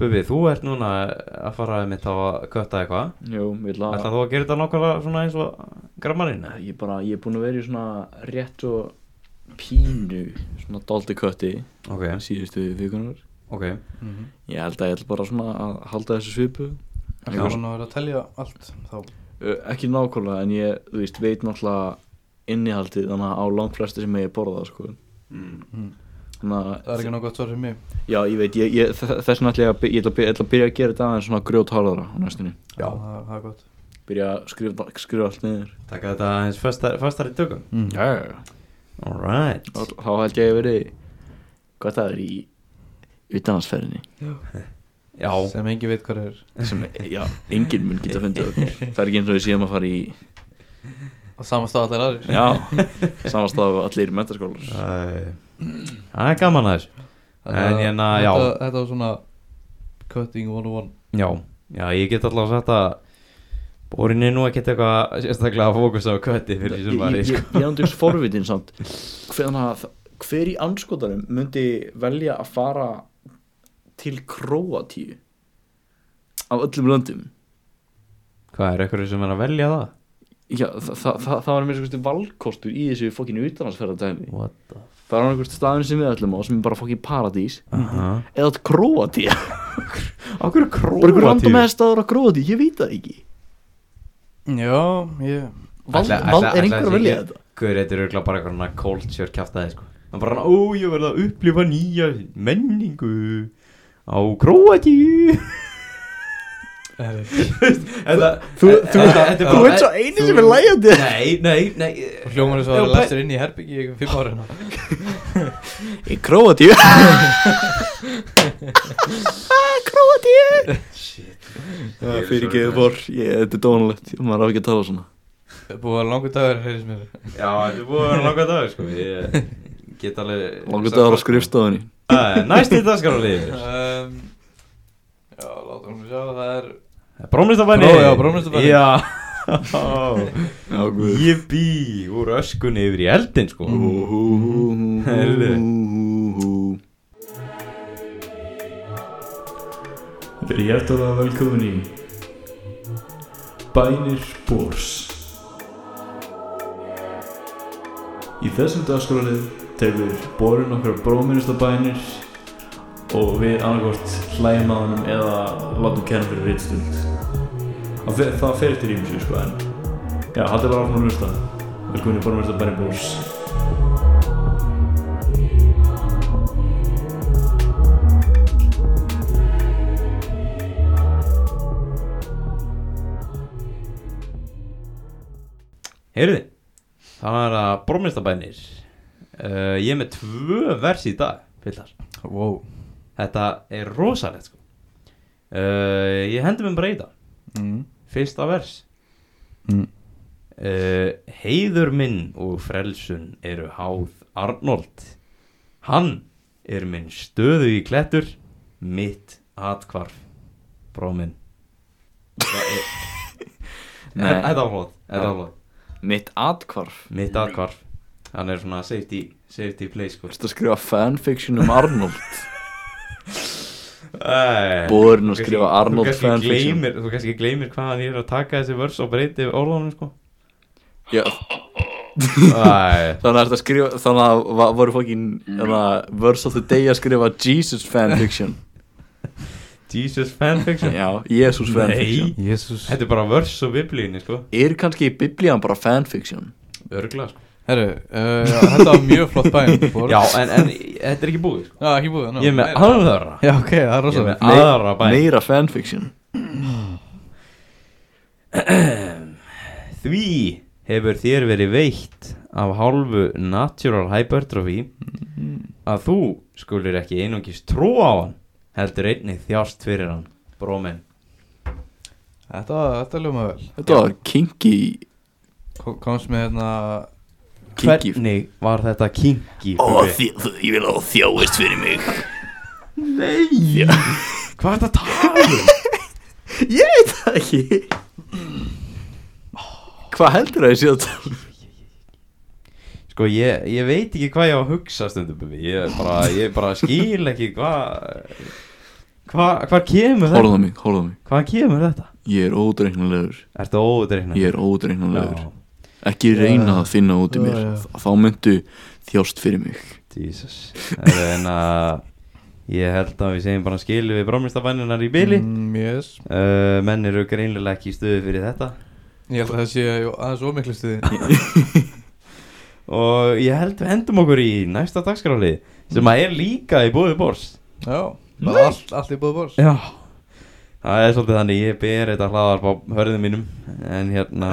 B: Bubi, þú ert núna að fara mitt á að kötta eitthvað
C: Jú, ég ætla
B: Ætla
C: að
B: þú að gera þetta nákvæmlega svona eins og grammarinn?
C: Ég er bara, ég er búin að vera í svona rétt og pínu Svona doldi kötti
B: Ok,
C: síðustu vikunar
B: ok Mhm.
C: Ég held að ég ætla bara svona að halda þessu svipu
A: það er svona að vera að telja allt þá
C: Ö, ekki nákvæmlega en ég þú veist, veit náttúrulega innihaldið þannig að á langt flesti sem ég borða sko.
A: Mm.
C: þannig að
A: það er ekki nokkuð gott svar fyrir mig
C: já, ég veit, ég, ég, þ- þess vegna ætla ég, að by- ég ætla, að by- ég ætla að byrja að gera þetta aðeins svona grjótharðara á næstunni
B: Já.
A: það, það er gott
C: byrja að skrifa, skrifa allt niður
B: Takk þetta eins fastar, fastar í tökum
A: mm.
C: já, já, já.
B: Alright
C: Þá, þá held ég að veri hvað það er í utanansferðinni
B: Já,
A: sem engin veit hvað er
C: sem, já, enginn mun geta fundið okkur það er ekki eins og við séum að fara í
A: og samastað allir aðrir
C: já, samanstaf allir mentaskólar
B: Æ, Það er gaman aðeins En hérna, já.
A: þetta, þetta var svona cutting 101
B: Já, já, ég get alltaf sagt að Borin er nú ekkert eitthvað sérstaklega að fókusa á kötti fyrir því
C: ég,
B: sem
C: ég,
B: bara
C: ég,
B: sko.
C: ég ándur forvitin samt hvernig að hver í anskotarum myndi velja að fara til Króatíu af öllum löndum
B: Hvað er eitthvað sem er að velja það?
C: Já, þa þa þa það var mér svo valkostur í þessu fokkinu utanhansferðardæmi
B: What the
C: það var einhvers staðin sem við ætlum á sem er bara fokkin paradís
B: uh -huh.
C: eða Króatíu
B: Akkur
C: bara einhver
B: króa
C: random eða staður á Króatíu, ég veit það ekki
A: já, ég
C: Vald,
B: Ætla-
C: vald,
B: ætla- ætla
C: er einhver að
B: þessi-
C: velja þetta?
B: Guður, þetta er auðvitað bara eitthvað svona culture kjaftaði sko Það er bara hann, ó, ég verða að upplifa nýja menningu á Króatíu Þetta
C: Þú, þú,
B: þetta- þetta er
C: þú
B: bara-
C: ert svo eini sem er lægjandi
B: Nei, nei, nei
A: hljómar þess að
B: Já,
A: vera
B: pæ-
A: lestur inn í herbyggi í fimm ára hérna
C: Í Króatíu Króatíu Shit Fyrirgeðu vor, ég, þetta er dónalegt maður á ekki að tala svona
A: búið að langur dagur heyrðis mér
B: Já, þetta er búið að vera langa dagur sko Ég get alveg
C: Langur dagar á skrifstofunni
A: Ehm,
B: Æ, Næsti dagskrálið
A: um, já, látum við sjá það er
B: Brómlistabanni
A: Bró- já, brómlistabanni.
B: Já
C: Já, guð
B: Jibbi Úr öskunni yfir í eldin sko Heyrðu.
C: Þetta er hjertalega velkomin í Bænir Bórs Í þessum dagskrálið tekur Bórin okkar bróminnista bænir og við annarkort hlægjum að honum eða látum kenna fyrir rittstund Það fer- Það fer eftir ímsu sko en Já, haldið bara áfram að hlusta Velkomin í Bórin okkar bænir Bórs
B: Heyrðu Það var að brómlistabanir uh, Ég er með tvö vers í dag Pillar
A: Wow
B: Þetta er rosalegt sko uh, Ég hendi mér bara í það
A: mm.
B: Fyrsta vers
A: Mm.
B: Eh, Heiður minn og frelsun eru háð Arnold Hann er minn stöðu í klettur Mitt atkvarf Bróminn
C: Nei.
B: Þetta var flott Þetta var flott
C: Mitt atkvarf
B: Mitt atkvarf Hann er svona safety, safety play sko
C: Þú ert að skrifa fanfiction um Arnold
B: Æ,
C: Bórin
B: þú
C: að
B: kannski-
C: skrifa
B: þú
C: Arnold
B: kannski
C: fanfiction
B: gleymir- Þú kannski gleymir hvað hann er að taka þessi vörs og breyti orðunum sko
C: Já,
B: Æ,
C: Þannig að ertu að skrifa Þannig að va- voru fokkin Þannig að verse of the day að skrifa Jesus fanfiction
B: Jesus fanfiction
C: Já, Jesus fanfiction
B: Nei,
A: Jesus
B: þetta er bara vörs og biblíunni sko
C: Er kannski biblían bara fanfiction?
B: Örgla sko
A: Herru, uh, já, þetta var mjög flott bæn Bór.
B: Já, en, en þetta er ekki búið sko.
A: Já, ekki búið ná,
B: Ég er með
A: meira.
B: aðra
A: Já, ok, það er
B: Ég er
A: rosalega
B: með aðra bæn
C: Meira fanfiction
B: Því hefur þér verið veitt af hálfu natural hypertrophy að þú skulir ekki einungis trúa á hann heldur einni þjást fyrir hann bróminn
A: Þetta, þetta ljóma vel
C: Þetta var kinky
A: Ko- Komst með hérna
C: Kinky
B: Hvernig var þetta kinky?
C: Ó,
B: Bubbi?
C: þi- þi- ég vil að þú þjáist fyrir mig
B: Hvað er þetta tala? um?
C: Ég veit það ekki Hvað heldur það að sé að tala um?
B: Sko ég, ég veit ekki hvað ég á að hugsa stundum Bubbi. ég bara, ég bara skil ekki hvað hvað hva kemur þetta?
C: Horfðu á mig, horfðu á mig
B: Hvað kemur þetta?
C: Ég er ódreiknulegur
B: Ertu ódreikna?
C: Ég er ódreiknulegur Ekki reyna að finna út í mér
A: Já, já.
C: Þá myndu þjást fyrir mig
B: Jesus Herðu, En að ég held að við segjum bara skilu við brámlistabæninar í byli mm.
A: mm, Yes
B: Menn eru greinilega ekki í stöðu fyrir þetta
A: Ég held að það sé jú, aðeins ómiklu stuði
B: Og ég held við hendum okkur í næsta dagskráli Sem að er líka í búið bors
A: Já, bara allt, allt í búið bórs
B: Já Það er svolítið þannig ég ber þetta hlaðar á hörðum mínum En hérna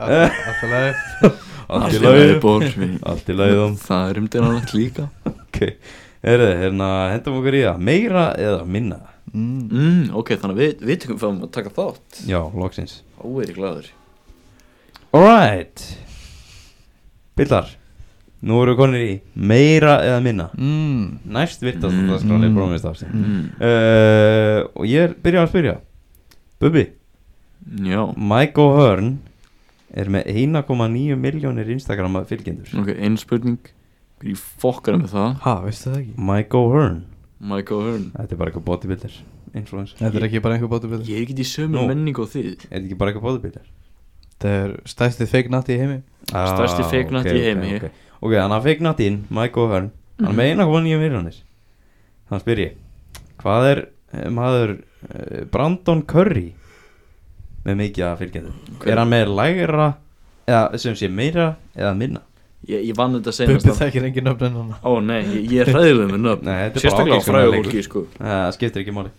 A: Alltaf leið
B: Allt í
C: lagi,
B: laugum
C: Bór, við-
B: Allt í laugum
C: Það er um dyrnanlegt líka
B: Ok Herðu, hérna hendum okkur í það Meira eða minna
A: mm.
C: mm, Ok, þannig að við, við tökum fram að taka þátt
B: Já, loksins
C: Ó, er ég glæður
B: Alright Billar Nú erum við konir í meira eða minna
A: Mm.
B: Næst virtast mm. að skrálega
A: Mm.
B: brómist afsinn mm.
C: mm,
B: uh, Og ég er byrjað að spyrja Bubbi
C: Já,
B: Mike O'Hearn er með 1,9 miljónir Instagram fylgjendur
A: Mm.
C: ok, einn spurning Hver í fokkar er með það
A: Ha, veistu það ekki?
B: Mike O'Hearn
C: Michael Hearn
B: Þetta er bara eitthvað bodybuilder Influencer
A: Þetta er ekki bara einhver bóti við
C: Ég er ekki í sömu
B: Nú.
C: menning og þið
B: Er þetta ekki bara eitthvað bodybuilder?
A: Þetta er stæsti fake natti í heimi
B: Ah,
C: Stærsti fake nut
B: ok,
C: í heimi.
B: Ok, okay. ok, hann hafði fegnatinn, Mike O'Hearn Hann er með 1,9 miljónir Þannig spyr ég Hvað er eh, maður eh, Brandon Curry með mikið að fylgjendum
C: Hver-
B: Er hann með lægra eða sem sé meira eða minna
C: Ég, ég vann þetta senast
A: Bubbi þekkir engin nöfn en hann
C: Ó nei, ég, ég er hræðilega með nöfn
B: Nei, þetta er bara
C: Sérstaklega á
B: ágiskunar
C: fræðu
B: leikur.
C: fólki sko
B: Eh, Það skiptir ekki máli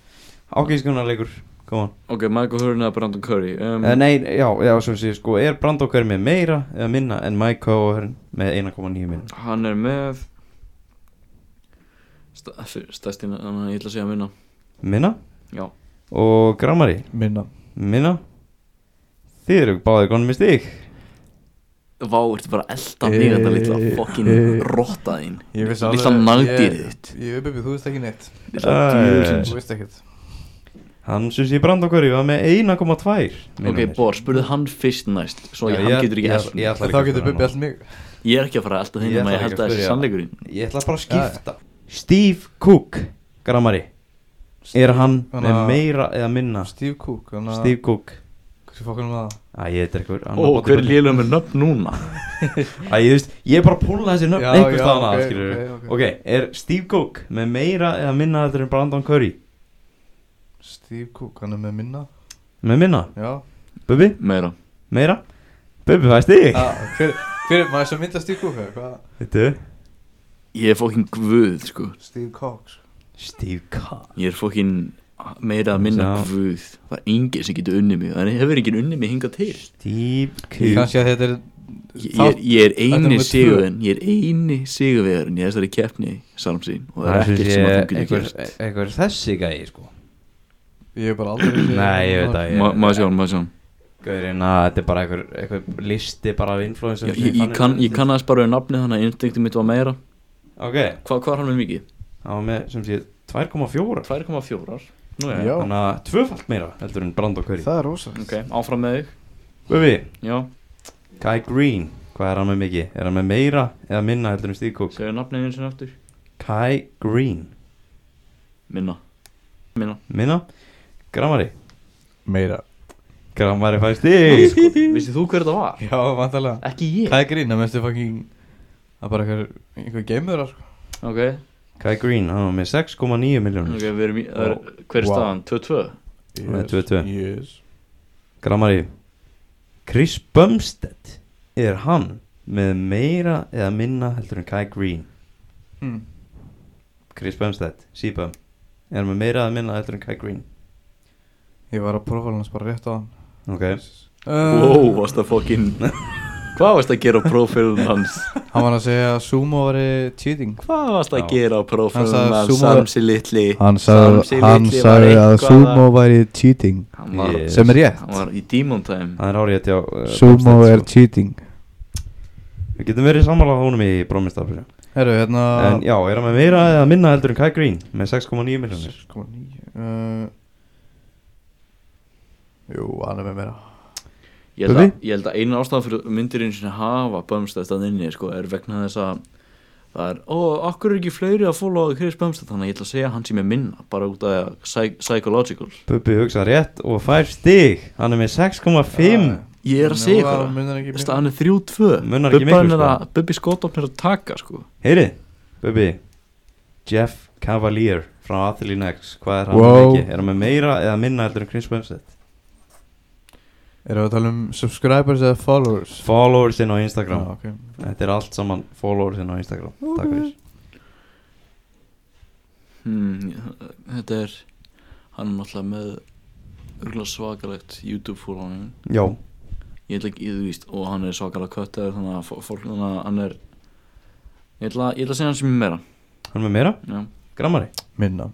B: Ákvískunarleikur, koma on
C: Ok, Michael Hearn eða Brandon Curry um,
B: Eh, Nei, já, já, sem sé sko Er Brandon Curry með meira eða minna en Mike O'Hearn með 1,9 miljónir
C: Hann er með Stæstina, hann ég ætla að segja minna
B: Minna
C: Já
B: og Grammari
A: Minna
B: Minna Þið eru báðir konum í stík
C: Vá, ertu bara að elda mig þetta
A: Eh,
C: litla fokkin
A: eh.
C: rotta þín
A: Ég vissi
C: Litla
A: alveg-
C: nagdýrið
A: Ég-
C: þitt
B: Ah, eh,
A: Ég, Bubbi, þú veist ekki neitt
C: Litla djöfulsins
A: Þú veist ekkert
B: Hann Susi Brandokörju var með 1,2
C: Ok,
B: milljónir.
C: Bor, spurðu hann fyrst næst Svo ég, hann getur ekki held
B: ég, ég,
A: En
B: ætla ekki
A: þá
B: að
A: getur
B: spyrja
A: Bubbi
B: hana.
A: allt mig
C: Ég er ekki að fara að elda
B: Ég
C: þeim
B: ætla
C: um að ég
B: ekki að
C: held að þessi
B: spyrja.
C: sannleikurinn
B: Ég ætla bara að skipta Steve Cook, grammari Er hann
A: Hann
B: með
A: að-
B: meira eða minna
A: Steve Cook hann að-
B: Steve Cook
A: Hversu fokkunum var það?
B: Æ, ég er eitthvað
C: Ó, hver er lélum með nöfn núna?
B: Æ, ég veist, ég er bara að púla þessi nöfn
A: Já,
B: einhvers
A: já,
B: staðan að,
A: ok,
B: skilur okay,
A: ok, ok.
B: er Steve Cook með meira eða minna þetta en Brandon Curry
A: Steve Cook, hann er með minna
B: Með minna,
A: Já
B: Bubbi,
C: Meira
B: meira Bubbi, fæ stig
A: Ah, Hver, hver, maður þess að mynda Steve Cook eða hvað?
B: Þetta
C: Ég er fókin guð, sko
A: Steve Cox
B: Steve Cook
C: Ég er fókin meira að minna
B: Já.
C: guð Það er enginn sem getur unnið mig Það hefur enginn unnið mig hingað til
B: Steve Cook
A: Kanski að þetta er
C: Ég, ég, er, ég
A: Þetta
C: er
A: er
C: eini
A: númer tvö.
C: sigurinn Ég er eini sigurinn í þessari keppni Salmsín Og það er ekkert sem að þú getur
B: einhver, e-
C: gert
B: einhver þessi gæi, sko
A: Ég er bara aldrei
B: Nei, ég veit að ég
C: Ma- Maður sjá hann, maður sjá hann
B: Gaurinn að þetta er bara einhver, einhver listi bara af influensum
C: Ég, ég, ég kann, ég kannast bara við nafni þannig að instinktum mitt var meira
B: Ok,
C: Hva, Hvað er hann með mikið?
B: það var með sem sé 2,4
C: 2,4 Nú
A: Já.
B: Þannig að tvöfalt meira heldur en Brand og Curry
A: Það er rosa
C: Ok, áfram með þig
B: Bubi,
C: Já,
B: Kai Green, hvað er hann með mikið? Er hann með meira eða minna heldur en Steve Cook?
C: segja nafnið eins og aftur
B: Kai Green,
C: Minna Minna
B: minna? Grammari
A: Meira
B: Grammari fær stig
C: sko, Vissið þú hver þetta var?
A: Já, vantarlega
C: Ekki
A: Hvað er grín? Það mestu fucking Það er bara einhver Einhver geimur sko.
C: Ok,
B: Kai Green, hann var með 6,9
C: ok,
B: miljónir
C: við erum í það er- Hver er
A: Wow.
C: staðan? 2-2
B: Hann er 22.
A: Yes
B: Grammari Chris Bumstead, er hann með meira eða minna heldur en Kai Green?
A: hmm.
B: Chris Bumstead, Seabum Er hann með meira eða minna heldur en Kai Green?
A: Ég var að prófa hans bara rétt Uh, á hann
B: Ok
C: Wow, varst það fokkin Hvað varst að gera á prófilum hans?
A: Hann var að segja að sumo væri cheating
C: Hvað varst
B: Já.
C: að gera á
A: Hann
C: prófilum
A: sagði
C: hans?
A: sumo-
C: Samsi litli
A: Hann
C: Samsi litli var eitthvað
A: væri cheating
C: Hann var,
B: Yes.
A: Sem er rétt
C: hann var í Demon Time
B: Það er árið hjá uh,
A: Sumo
B: Bumstead,
A: er
B: sko.
A: cheating
B: Við getum verið sammála honum í brómistafinu
A: Herru, hérna
B: En já, er hann með meira eða minna heldur en Kai Green Með 6,9 miljonir
A: 6,9 uh, Jú, hann er með meira
C: Ég held, að,
B: Bubbi?
C: ég held að eina ástæðan fyrir myndirinn sem hafa Bömstæð að inni sko, er vegna þess að það er, ó, okkur er ekki fleiri að followa Chris Bömstæð þannig að ég ætla að segja hann sem er minna bara út af psy psychological
B: Bubbi hugsa rétt og fær stig Hann er með 6,5
A: Ah.
C: Ég er að segja ykkur það.
A: ykkur
C: Staðan er 3-2
B: Munar ekki
C: Bubban
B: miklu,
C: er
B: sko.
C: að- Bubbi skotofn er að taka sko.
B: Heyri, Bubbi Jeff Cavalier frá Athlene X Hvað er hann
A: Wow.
B: með ekki? Er hann með meira eða minna heldur en Chris Bumstead
A: Erum við að tala um subscribers eða followers?
B: Followers inn á Instagram
A: Já, ok.
B: Þetta er allt saman followers inn á Instagram Takk fyrir
C: hmm, Þetta er hann er náttúrulega með örgulega svakalegt YouTube fólunum
B: Já,
C: ég ætla ekki, þú víst, og hann er svakalega köttaður þannig að fó- fólk, þannig að hann er ég ætla, ég ætla að segja hann sem er meira
B: hann er með meira
C: Já.
B: Grammari
A: Minna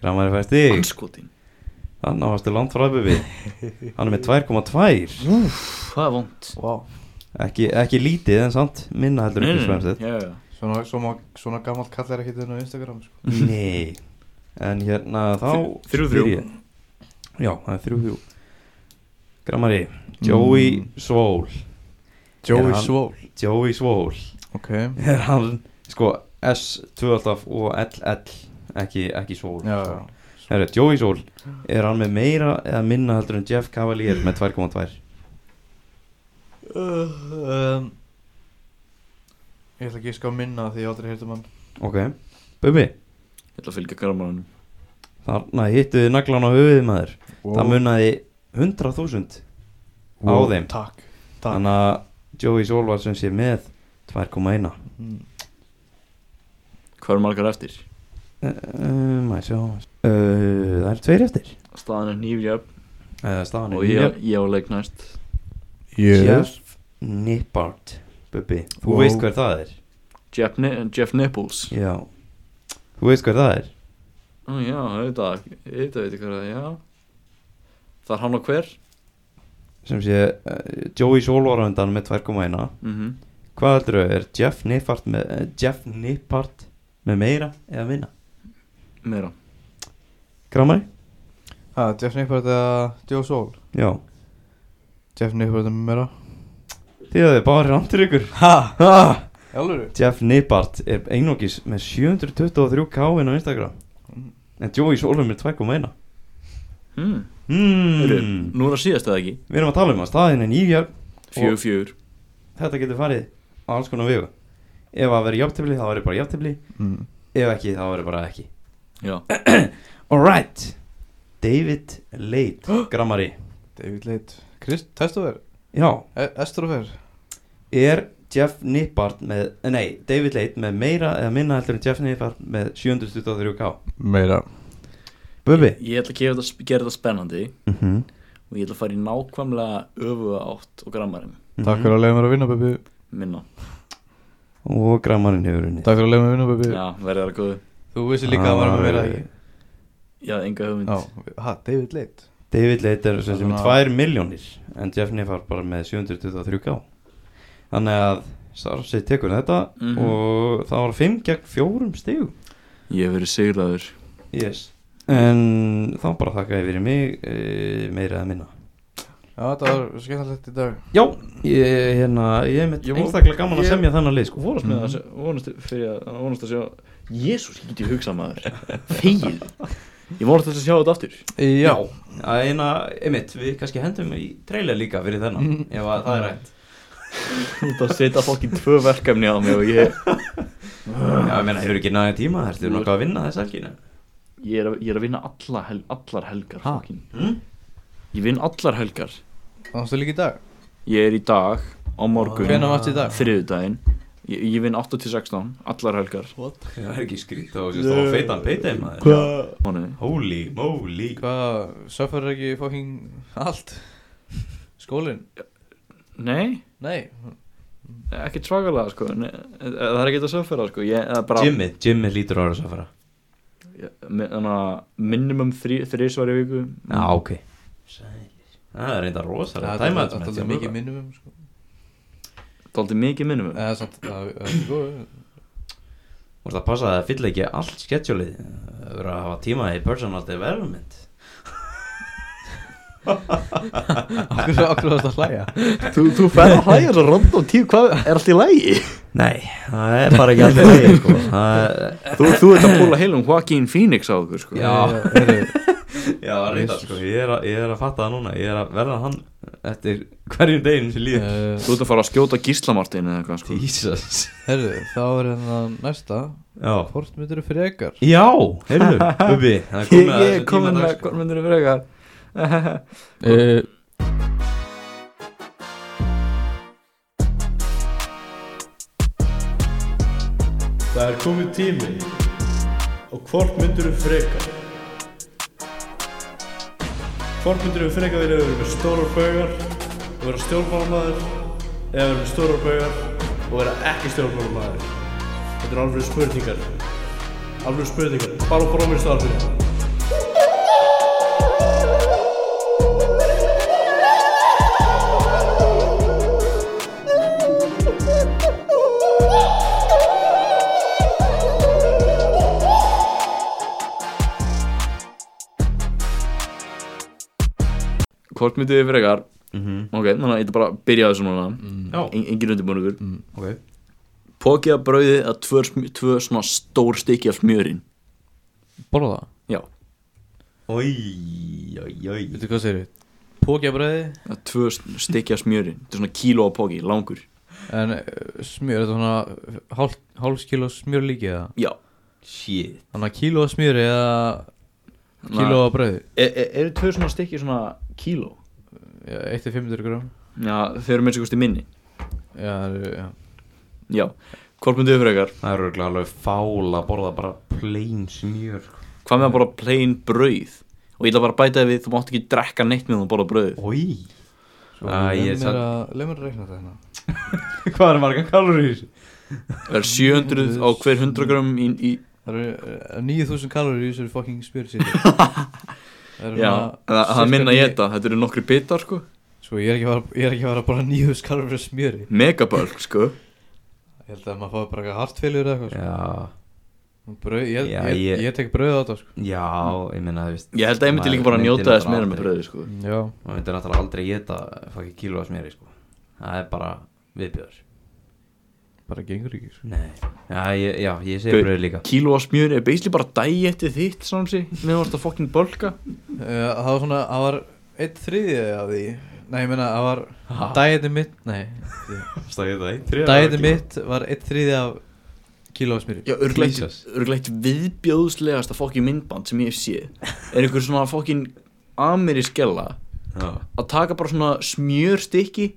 B: Grammari fær stig
C: Anskotin
B: Þannig að varstu langt frá Bubbi Hann er með 2,2
C: Það er vond
A: wow.
B: ekki, ekki lítið en samt minna heldur en Chris Bumstead
A: Svona, svona, svona gammalt kall er ekkert inn á Instagram sko.
B: Nei En hérna þá
C: Þrjú,
B: spyr
C: þrjú.
B: ég. Já, það er þrjú þrjú Grammari Joey
A: Mm.
B: Svól
A: Joey
B: Er hann-
A: Svól
B: Joey Svól
A: Ok
B: Er hann sko S2 alltaf og LL Ekki, ekki Svól
A: Já, já
B: Herru, Joey Svól Er hann með meira eða minna heldur en Jeff Cavalier með 2,2
A: um, Ég ætla ekki að ská minna því ég hef aldrei heyrði um hann
B: Ok Bubi
C: Ég ætla að fylgja grammaranum
B: Þarna hittu þið naglan á höfuðið maður
A: wow.
B: Það munaði 100.000 á þeim.
A: Takk Takk
B: Þannig að Joey Sol var sem sé með 2,1 uh,
A: mm.
C: Hvað eru margar eftir?
B: Eh, Mæ sjá uh, Það er tveir eftir
C: Staðan er nýfjöfn
B: uh, Staðan
C: og
B: er
C: ég,
B: nýjöfn.
C: ég á leik næst
B: Jeff Nippard Bubbi, þú
A: Wow.
B: veist hver það er
C: Jeff, Ni Jeff Nipples
B: Já Þú veist hver það er
C: Ó, Já, þetta, þetta veit ég hvað það er, já Það er hann og hver
B: sem sé uh, Joey Sol var á undan með 2,1
C: mm
B: Hvað heldur þau, er Jeff Nippard með, uh, Jeff Nippard með meira eða minna?
C: Meira
B: Gramari?
A: Hann ah, Jeff Nippert eða Joe Soul
B: Já,
A: Jeff Nippert er með mér
B: því að þið bara randir ykkur
A: Ha?
B: Ha!
A: Jálfur?
B: Jeff Nippart er einókis með 723k inn á Instagram En Joey Solum er 2,1
C: hmm.
B: hmm.
C: Mm. Nú er það síðast eða ekki
B: Við erum að tala um að staðin er nýjar
C: Fjögur, fjögur
B: Þetta getur farið á alls konar vegu Ef að vera jafntefli þá verður bara jafntefli
A: Mm.
B: Ef ekki þá verður bara ekki
C: Já,
B: Alright David Leit Grammari
A: David Leit Krist, Testover,
B: Já
A: E, Estrofer
B: Er Jeff Nippard með Nei, David Leit með meira eða minna heldur en Jeff Nippard með 723k
A: Meira
B: Bubbi
C: ég ætla að gefa þetta, gera þetta spennandi
B: mm
A: Mhm.
B: -hmm.
C: og ég ætla að fara í nákvæmlega öfuga átt og grammarinn
A: Takk fyrir að leiða mér að vinna, Bubbi
C: minna
B: Mhm. Og Grammarin hefur unnið
A: Takk fyrir að leiða mér að vinna, Bubbi
C: Já, verðið það góðu
A: Þú vissi líka að það var með meira ekki
C: Já, enga hugmynd
A: Já, ha, David Leit
B: David Leit er sem sem
A: Svona-
B: 2 miljónir en Jeff Niffar bara með 723k þannig að Sarsi tekur þetta
C: Mhm.
B: og það var 5 gegn 4 stigum
C: Ég hef verið sigraður
B: yes. en þá bara þakka ég fyrir mig e, meira eða minna
A: Já, þetta var skemmtilegt í dag
B: já, ég, hérna, ég er mitt
C: Ég vor-
B: einstaklega gaman
C: ég-
B: að semja þannig að lið sko.
C: Vonast með það, vonast fyrir að vonast að sjá Jésús, ég geti hugsað maður Fegið Ég vonast þess að sjá þetta aftur
B: já, að eina, einmitt við kannski hendum í trailer líka fyrir þennan ef að það er rætt
C: Þú ert að setja fólkið tvö verkefni á mig og ég,
B: já, ég meina, hefur ekki nægja tíma, ertu nokkuð að vinna þess alginu
C: ég, er, að, ég er að vinna alla hel, allar helgar
A: Ha?
C: fucking.
B: Mm?
C: Ég vinn allar helgar
A: Þannig líka í dag
C: Ég er í dag, á morgun
A: Hvenær varstu í dag?
C: Þriðudaginn Ég, ég vinn 8-16, allar helgar
B: það er ekki skrýtt og þú veist, þá feitan peitin maður
C: Mánuði
B: Holy moly
A: Hvað, söffar ekki fucking allt? Skólinn?
C: Nei,
A: Nei
C: ekki svakalega sko Nei, eh, Það er ekki þetta söfverða sko ég, eða bara,
B: Jimmy, Jimmi lítur ára svo fara
C: ég- mi- Þannig að minimum þrý- þrisvar í viku
B: Já, ok Mm. Það er reynda rosalega
A: er
B: tæma
A: alltaf mikið minnum um sko
C: Daldið mikið minimum
A: Eða samt, það það er góð
B: Þú veist að passa að það fylla ekki allt schedulið Það verður að hafa tíma í personal development
A: Okkur okkur varst að hlæja
C: Þú, þú færð að hlæja svo random tíu, hvað er allt í lægi?
B: Nei, það er bara ekki alltaf leið sko. Það er-
C: Þú, þú ert að púla heilum Joaquin Phoenix á okkur sko
B: Já.
A: heyrðu,
B: Já, reynda sko ég er, að, ég er að fatta það núna Ég er að verða hann eftir hverjum deginn sem líður
A: eh,
C: Þú ert að fara að skjóta gíslamartin eða eitthvað sko
B: Jesus
A: heyrðu, þá er hérna næsta
B: Já,
A: Hvort myndir þú frekar?
B: Já heyrðu, Bubi Það er komið að þessum tíma dags, sko.
C: myndir að vera eitthvað Eh,
A: Uh,
D: Það er komið tími og hvort myndur við freka? Hvort myndur við freka vilja vera með stórar baugar og vera stjórnmálamaður eða vera með stórar baugar og vera ekki stjórnmálamaður? Þetta eru alveg spurningar. Alveg spurningar. Bara brómið starfinu.
C: Hvort myndið þið fyrir ykkar
B: Mhm.
C: Ok, þannig að ég ætla bara að byrja á þessu núna mm. Engin undirbúningur mm.
B: Ok.
C: Pókið að brauðið að tvö, sm- tvö svona stór stykki af smjörin
A: Borða það
C: Já,
B: Oj, oj, oj
A: Veitu hvað segir við? Pókjabræði
C: að tvö s- stykki af smjörin Þetta er svona kíló af póki, langur
A: En eh, smjör, þetta er svona hálf, hálfs kíló smjör líkið það
C: Já
B: Shit
A: Þannig að kíló af smjöri eða kíló af bræði
C: Er, er, E, eru tvö svona stykki svona kíló?
A: Eitt er 500 gram
C: Já, þeir eru minnst ykkur stið minni
A: Já, það eru- já.
C: Já, hvort myndið þið fyrir ykkar
B: Það eru örugglega alveg fál að borða bara plain smjör sko.
C: Hvað með að bara plain brauð Og ég ætla bara að bæta þið við, þú mátt ekki drekka neitt með þú borða brauðið
B: Ói
A: Svo
B: Ah,
A: leið
B: ég
A: mér
B: samt-
A: að- leið mér að reikna þetta hérna
B: Hvað er margar kalorið í þessu?
C: Það er 700 á hver 100 gram í, í,
A: Það eru eh, 9000 kalorir í þessari fucking smjörsi
C: Já, en það það er minna ég þetta Þetta eru nokkri bitar sko
A: Sko, ég er ekki að fara- ég er ekki að fara bara 9000 kalorir af smjöri
C: Megabölk sko
A: Ég held að maður fái bara eitthvað hartfélur eða eitthvað sko.
B: Já
A: Brauð, ég,
B: Já,
A: ég,
B: ég-
A: ég, tek brauð á þetta sko.
B: Já, ég meina þú veist
C: Ég held að ég myndi
B: maður
C: líka bara að
B: myndi
C: njóta þess
B: náttúrulega
C: meira með
B: aldrei-
C: bröði sko.
A: Já,
B: maður myndi náttúrulega aldrei geta fucking kíló að smeri sko það er bara viðbjörður
A: bara gengur ekki sko.
B: nei já, ég, já, ég segi bröður líka
C: Kíló af smjör er basically bara dæjettið þitt Sámsi, með þú ert að fokkin bölka
A: Eh, Það var svona, það var eitt þriðið af því Nei, ég meina, það var Dæðið mitt, nei
B: stæðið það
A: Dæðið mitt var eitt þriðið af kílófsmýri
C: Já, örgleitt,
B: Jesus.
C: örgleitt viðbjóðslegasta fokkin myndband sem ég hef séð Er einhver svona fokkin amiriskella að taka bara svona smjörstykki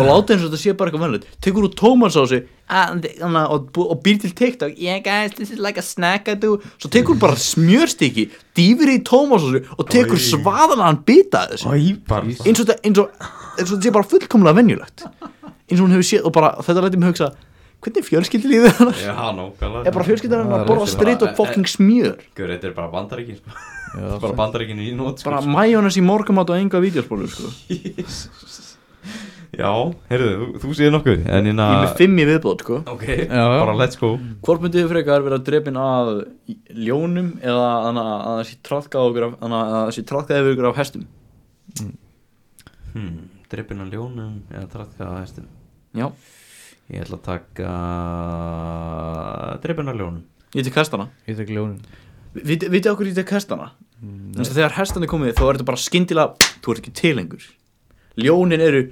C: og láta eins og þetta sé bara eitthvað vennilegt tekur úr tómans á sig "Ah, og, bú- og býr til TikTok yeah guys this is like a snack I do svo tekur hún bara smjörstykki dýfir í tómans á sig og tekur svaðan að hann bita af þessu
B: æpar
C: eins og þetta eins og, eins og þetta sé bara fullkomlega venjulegt eins og hún hefur séð og bara þetta læti mig hugsa hvernig fjölskyldi lífið hann
B: já, nákvæmlega
C: er bara fjölskyldi hann
A: Það er
C: að borða
B: rétt.
C: streit og fucking smjör
B: Guður, þetta er bara bandaríkin sko.
A: Já,
B: bara bandaríkin í nót sko.
C: bara majónas í morgumat og enga vídeospólur sko.
B: já, heyrðu, þú, þú séð nokkuð en hérna
C: ég er með fimm í viðbót sko.
B: ok,
A: já. Mm.
B: bara let's go
C: Hvort myndið þið frekar vera drefin að ljónum eða þannig að það sé traðkað okkur af, þannig að það sé traðkað yfir okkur af hestum?
B: hmm, drippin á ljónum eða traðka að hestum
C: Já,
B: ég ætla að taka drippin á ljónum
C: ég tek hestana.
A: Ég tek ljónin
C: Vitið vitið okkur ég tek hestana?
A: Mm,
C: Þannig að þegar hestan er komið þá er þetta bara skyndilega, þú ert ekki tilengur. Ljónin eru,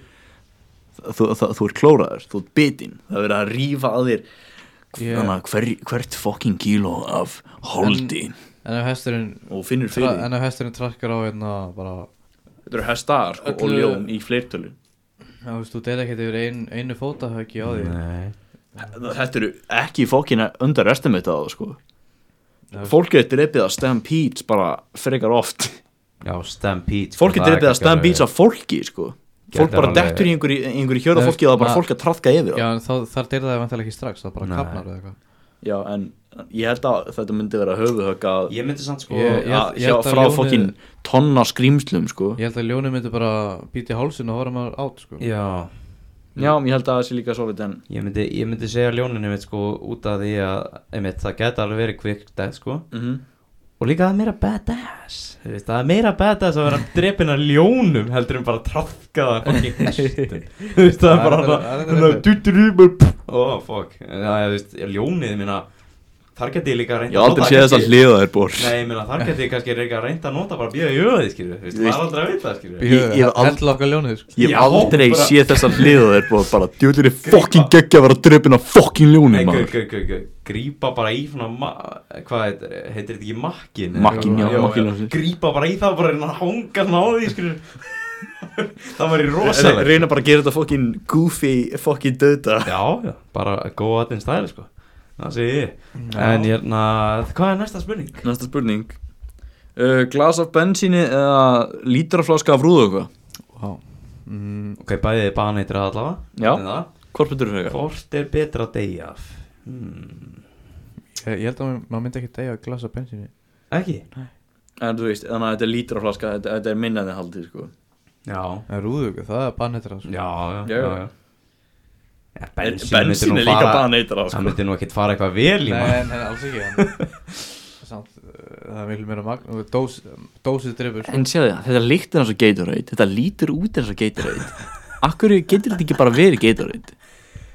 C: þú, þú, þú, þú ert klóraður, þú ert bitinn, það er verið að rífa að þér
A: Ég-
C: þannig að hver, hvert fucking kíló af holdi
A: En ef hesturinn
C: og finnur
A: tra,
C: fyrir.
A: En ef hesturinn trakkar á hérna bara
C: Þetta eru hestar sko, og
A: Öllu-
C: ljón í fleirtölu.
A: Já, veist, þú deila ekkert yfir ein, einu fótahöggi á því
B: nei
C: Þetta eru ekki fókin að underestimate það sko. Fólk er drefið að stampedes bara frekar oft
B: já, stampede sko,
C: Fólk er
B: það
C: drefið að
B: kannski alveg-
C: stampedes af fólki sko. Fólk
B: Gæti
C: bara
B: alveg-
C: dettur í einhverju, einhverju hjörða
A: Nei,
C: fólki og það er bara
A: na-
C: fólk að trafka yfir
A: Já,
C: það
A: en þá, þar deila það vantilega ekki strax Það bara
B: Nei.
A: kapnar eða eitthvað
C: Já, en ég held að þetta myndi vera höfuðhögg að
B: ég myndi samt sko
A: Ég-
C: að
A: ég held
C: hjá
A: að
C: frá
A: ljónið-
C: fólkin tonna skrýmslum sko.
A: Ég held að ljónin myndi bara býti hálsinn og horfa maður át sko
B: já,
C: Já, ég held að það sé líka svo við en
B: Ég myndi, ég myndi segja ljóninu mitt sko út af því að einmitt, það geta alveg verið quick death sko
C: Mhm.
B: og líka það er meira badass þú veist, það er meira badass að vera drepin af ljónum heldur en bara trafkaða fucking hestum þú veist það er bara
A: Það er- það er- það er-
B: það duturumur oh fuck það er þú veist ljónið minna þar geti ég líka
C: Ég
B: reynda
C: hef aldrei séð þess að hliða þér bor
B: nei minna þar geti ég kannski líka reynda að nota bara bíða í öði skilju þú veist
C: Þú
B: það er aldrei að vita skilju
C: Ég- ég hef aldrei-
A: Hella okkar ljónið sko
C: Ég
B: Já,
C: hef aldrei
B: bara-
C: séð þess að hliða þér bor bara djúlir fokkin geggja að vera drefin af fokkin
B: Nei,
C: ljónum
B: gau,
C: maður
B: gau, gau, gau, grípa bara í svona, ma- hvað heitir, heitir þetta ekki makkin?
C: Makkinn, já, makkinn, já.
B: Grípa bara í það, bara reyna að hanga hann á því, skilur Það væri
C: Re-
B: rosalegt
C: reyna bara að gera þetta fokkin goofy fokkin döta
B: Já, já, bara go at in style, sko Það sé ég En hérna, hvað er næsta spurning?
C: næsta spurning uh, glas af bensíni eða lítraflaska af rúðu eitthvað
A: Vá mm,
B: Ok, bæðið baneitrið allavega
C: Já.
B: Þetta er það.
C: hvort betur þú frekar?
B: Hvort er betra að deyja af? Hmm.
A: Eh, ég, ég held að maður myndi ekki degja glasa bensinni
B: Ekki?
C: en þú veist, þannig að þetta er lítraflaska þetta, þetta er minnaði haldið sko
B: Já
A: En rúðugu, það er bannetra sko.
B: Já, já,
C: Já,
B: já,
C: já.
B: já. Já,
C: bensín,
B: myndi nú
C: er líka
B: fara-
C: bara neitra
B: Það
C: sko.
B: myndi nú ekkert fara eitthvað vel í
A: Nei,
B: maður
A: en, en alls ekki en, Samt, uh, það er miklu meira magn dós, Dósið drefur sko.
C: en séðu það, þetta líktir eins og Gatorade þetta lítur út eins og Gatorade akkur getur þetta ekki bara verið Gatorade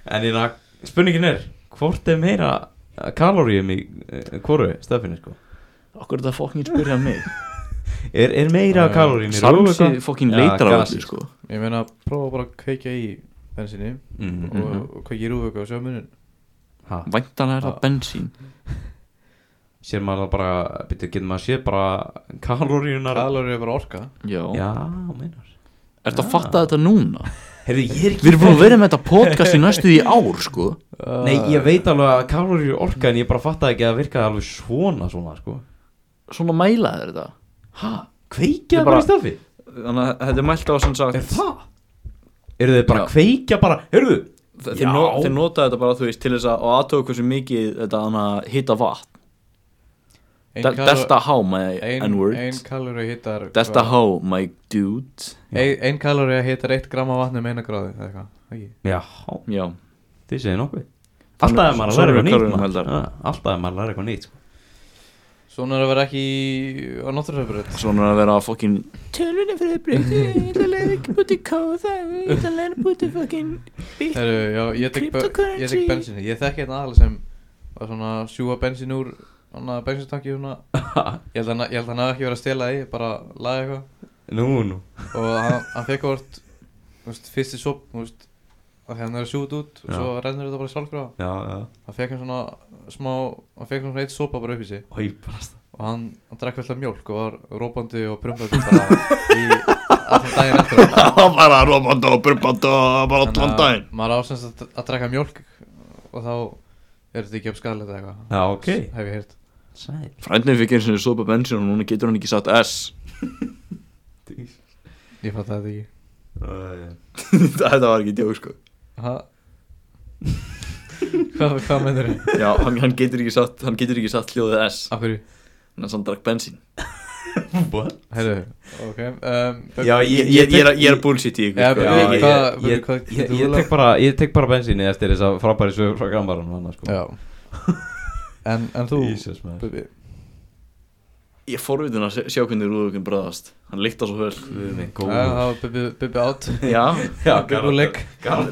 B: En hérna, spurningin er Hvort er meira kaloríum í eh, hvoru stefinu sko
C: okkur er þetta fokkin spyrja mig
B: Er, er meira
A: Já,
B: kaloríum í
C: Samsi fokkin
B: Eh, Já,
C: leitrar á
B: gasi,
C: þessu sko
A: Ég meina, prófa bara að kveikja í bensinni
C: Mhm,
B: mm.
A: og, og kveikja í rúðugu og sjá munin
B: ha,
C: væntanlega er það bensín
B: Sér maður það bara, byrju, getur maður séð bara kaloríunar
A: Kalorið er bara orka
C: já,
B: Já, meinar
C: ertu að fatta þetta núna?
B: Heyrðu, ég er
C: Við erum búin að vera með þetta podcast í næstu því ár sko
B: Nei, ég veit alveg að kaloríur er orka en ég bara fattaði ekki að það virkaði alveg svona svona sko
C: Svona mæla þér þetta
B: Ha, kveikja
C: Ég
B: bara
C: bara-
B: í stafi
C: Þannig að þetta er mælt á sem sagt
B: Er það? Eru þið bara
C: Já.
B: að kveikja bara, heyrðu Já.
C: Þe- Þeir, no, þeir nota þetta bara þú veist til þess að og aðtöku hversu mikið þetta hann að hitta vatn
A: Ein
C: De-
A: kalor-
C: Delta H my
A: Ein, ein
C: N-word
A: kalorið hittar
C: Delta H my dude
A: Ein, ein kalorið hittar 1 gram af vatni um eina gráði eða eitthvað, ekki?
B: Já,
C: Já
B: þið segir nokkuð Alltaf er maður að læra
C: Sorry,
B: eitthvað nýtt
C: körfum,
B: maður.
C: heldar.
B: Já, Alltaf er maður að læra eitthvað nýtt sko.
A: Svona er að vera ekki í- á náttúrufjöfrið
C: Svona að vera að fokkin
F: Tölvunni fyrir breytu, ítalega ekki búti kóða, ítalega búti fucking bíl.
A: Herru, já, ég tek, be- ég tek
F: Cryptocurrency.
A: bensinni Ég þekki hérna aðal sem var svona að sjúga bensin úr Svona bensinstanki svona
B: sko.
A: Ég held að hann- ég held að hann hafi ekki verið að stela því Bara laga eitthvað
B: Nú, nú
A: og hann, hann fekk hvort þú veist, fyrsti sop þú veist, að því hann er að sjúta út og
B: Já.
A: svo rennur þetta bara sjálfur á
B: Já, já
A: hann fekk hann svona smá hann fekk svona eitt sopa bara upp í sig
B: Í brast
A: og hann, hann drakk vel að mjólk og var rópandi og prumpandi bara í allan daginn eftir á.
C: Bara rómanda og burbanda Bara
A: Þannig að maður ásens að, að drakka mjólk og þá er þetta ekki upp skalið eða eitthvað
B: Já, ok
A: hef ég heyrt
B: Sæl
C: Frændin fikk eins og sopa bensin og núna getur hann ekki sagt S
A: ég fatt þetta ekki
C: Þetta var ekki djók sko
A: ha? hvað, hvað mennur þið?
C: Já, hann, hann getur ekki sagt, hann getur ekki sagt hljóðið S
A: af hverju?
C: Þannig að hann drakk bensin
B: What?
A: heyrðu ok um,
B: Já,
C: Ég, ég, ég, er, að- ég er að bullshit í
A: Já,
C: ykkur sko.
A: Hvað-
B: Já, ég,
C: Ég- ég-
A: hvað-
B: ég,
A: hvað-
B: ég, ég, ég, tek bara, ég tek bara bensinni eftir þess að frábæri sögur frá grambaranum annars sko
A: Já En, en þú
B: Jesus, maður
A: Bubi,
C: Ég er forvitin að sjá hvernig rúðuðuðum bræðast Hann líkta svo vel
B: Guð
A: Já,
B: minn góður.
A: það var Bubi, Bubi átt
C: Já,
B: Já,
A: Bubi úr leik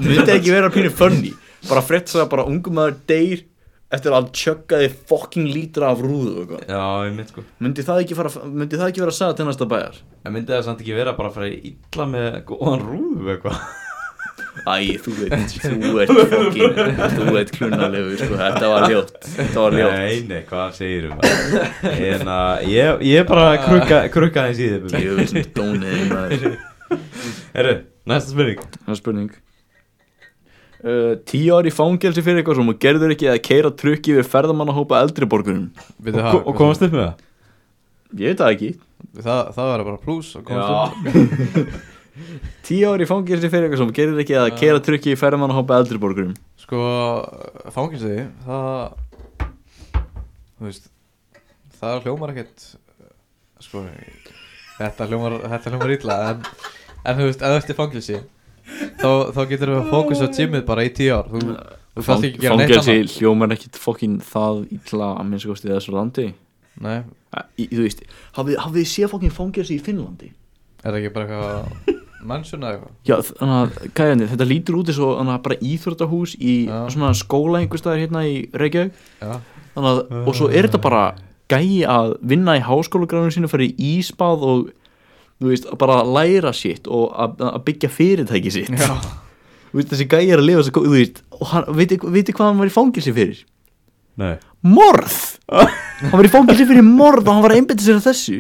C: myndi ekki vera pínu funny Bara frétt sagði bara ungum maður deyr Eftir að hann tjöggaði fucking lítra af rúðu og eitthvað.
B: Já, ég mynd sko
C: Myndi það ekki, fara, myndi það ekki vera að sagða til næsta bæjar
B: En myndi það samt ekki vera bara að fara í illa með góðan rúðu eitthvað
C: Æ, þú veit, þú ert fucking Þú ert klunnalegu, sko, þetta var ljótt Þetta var ljótt
B: Nei, nei, hvað segir um það En að ég, ég bara krukka, krukka aðeins í þið Bubi.
C: Ég veist sem dónið maður
B: Herru, næsta spurning
C: Það er spurning uh, Tíu ári fangelsi fyrir eitthvað sem þú gerður ekki að keira trukki við ferðamannahópa eldri borgurum
A: Við
B: Og, og komast upp með það
C: Ég veit það ekki
A: Það, það var bara pluss og komast upp.
C: Tíu ári fangelsi fyrir eitthvað sem þú gerður ekki að keira trukki við ferðamannahópa eldri borgurum
A: Sko, fanginsi Það Þú veist Það hljómar ekkert Sko Þetta hljómar, þetta hljómar illa En, en þú veist, ef þetta er fanginsi Þá, þá getur við að fókusa á tímið bara í tíu ár Þú, þú þarft ekki að gera neitt
C: Fangelsi
A: annað
C: hljómar ekkit fokkin það illa að minnst kosti í þessu landi
A: Nei,
C: Æ, í- Þú veist, hafið hafið þið séð fokkin fangelsi í Finnlandi?
A: er það ekki bara eitthvað Mansion eða eitthvað
C: Já, þannig að, gæðandi, þetta lítur út eins og þannig að bara íþróttahús í
A: Já.
C: svona skóla einhver staðar hérna í Reykjavík
A: Já,
C: þannig að, og svo er þetta bara gæi að vinna í háskólagránum sínu fyrir íspað og þú veist, að bara læra sitt og að, að byggja fyrirtæki sitt
A: Já.
C: Þú veist, þessi gæi er að lifa þessi góð, þú veist, og hann, veitir veiti hvað hann var í fangelsi fyrir?
B: Nei
C: Morð! hann var í fangelsi fyrir morð og hann var að einbytta sér að þessu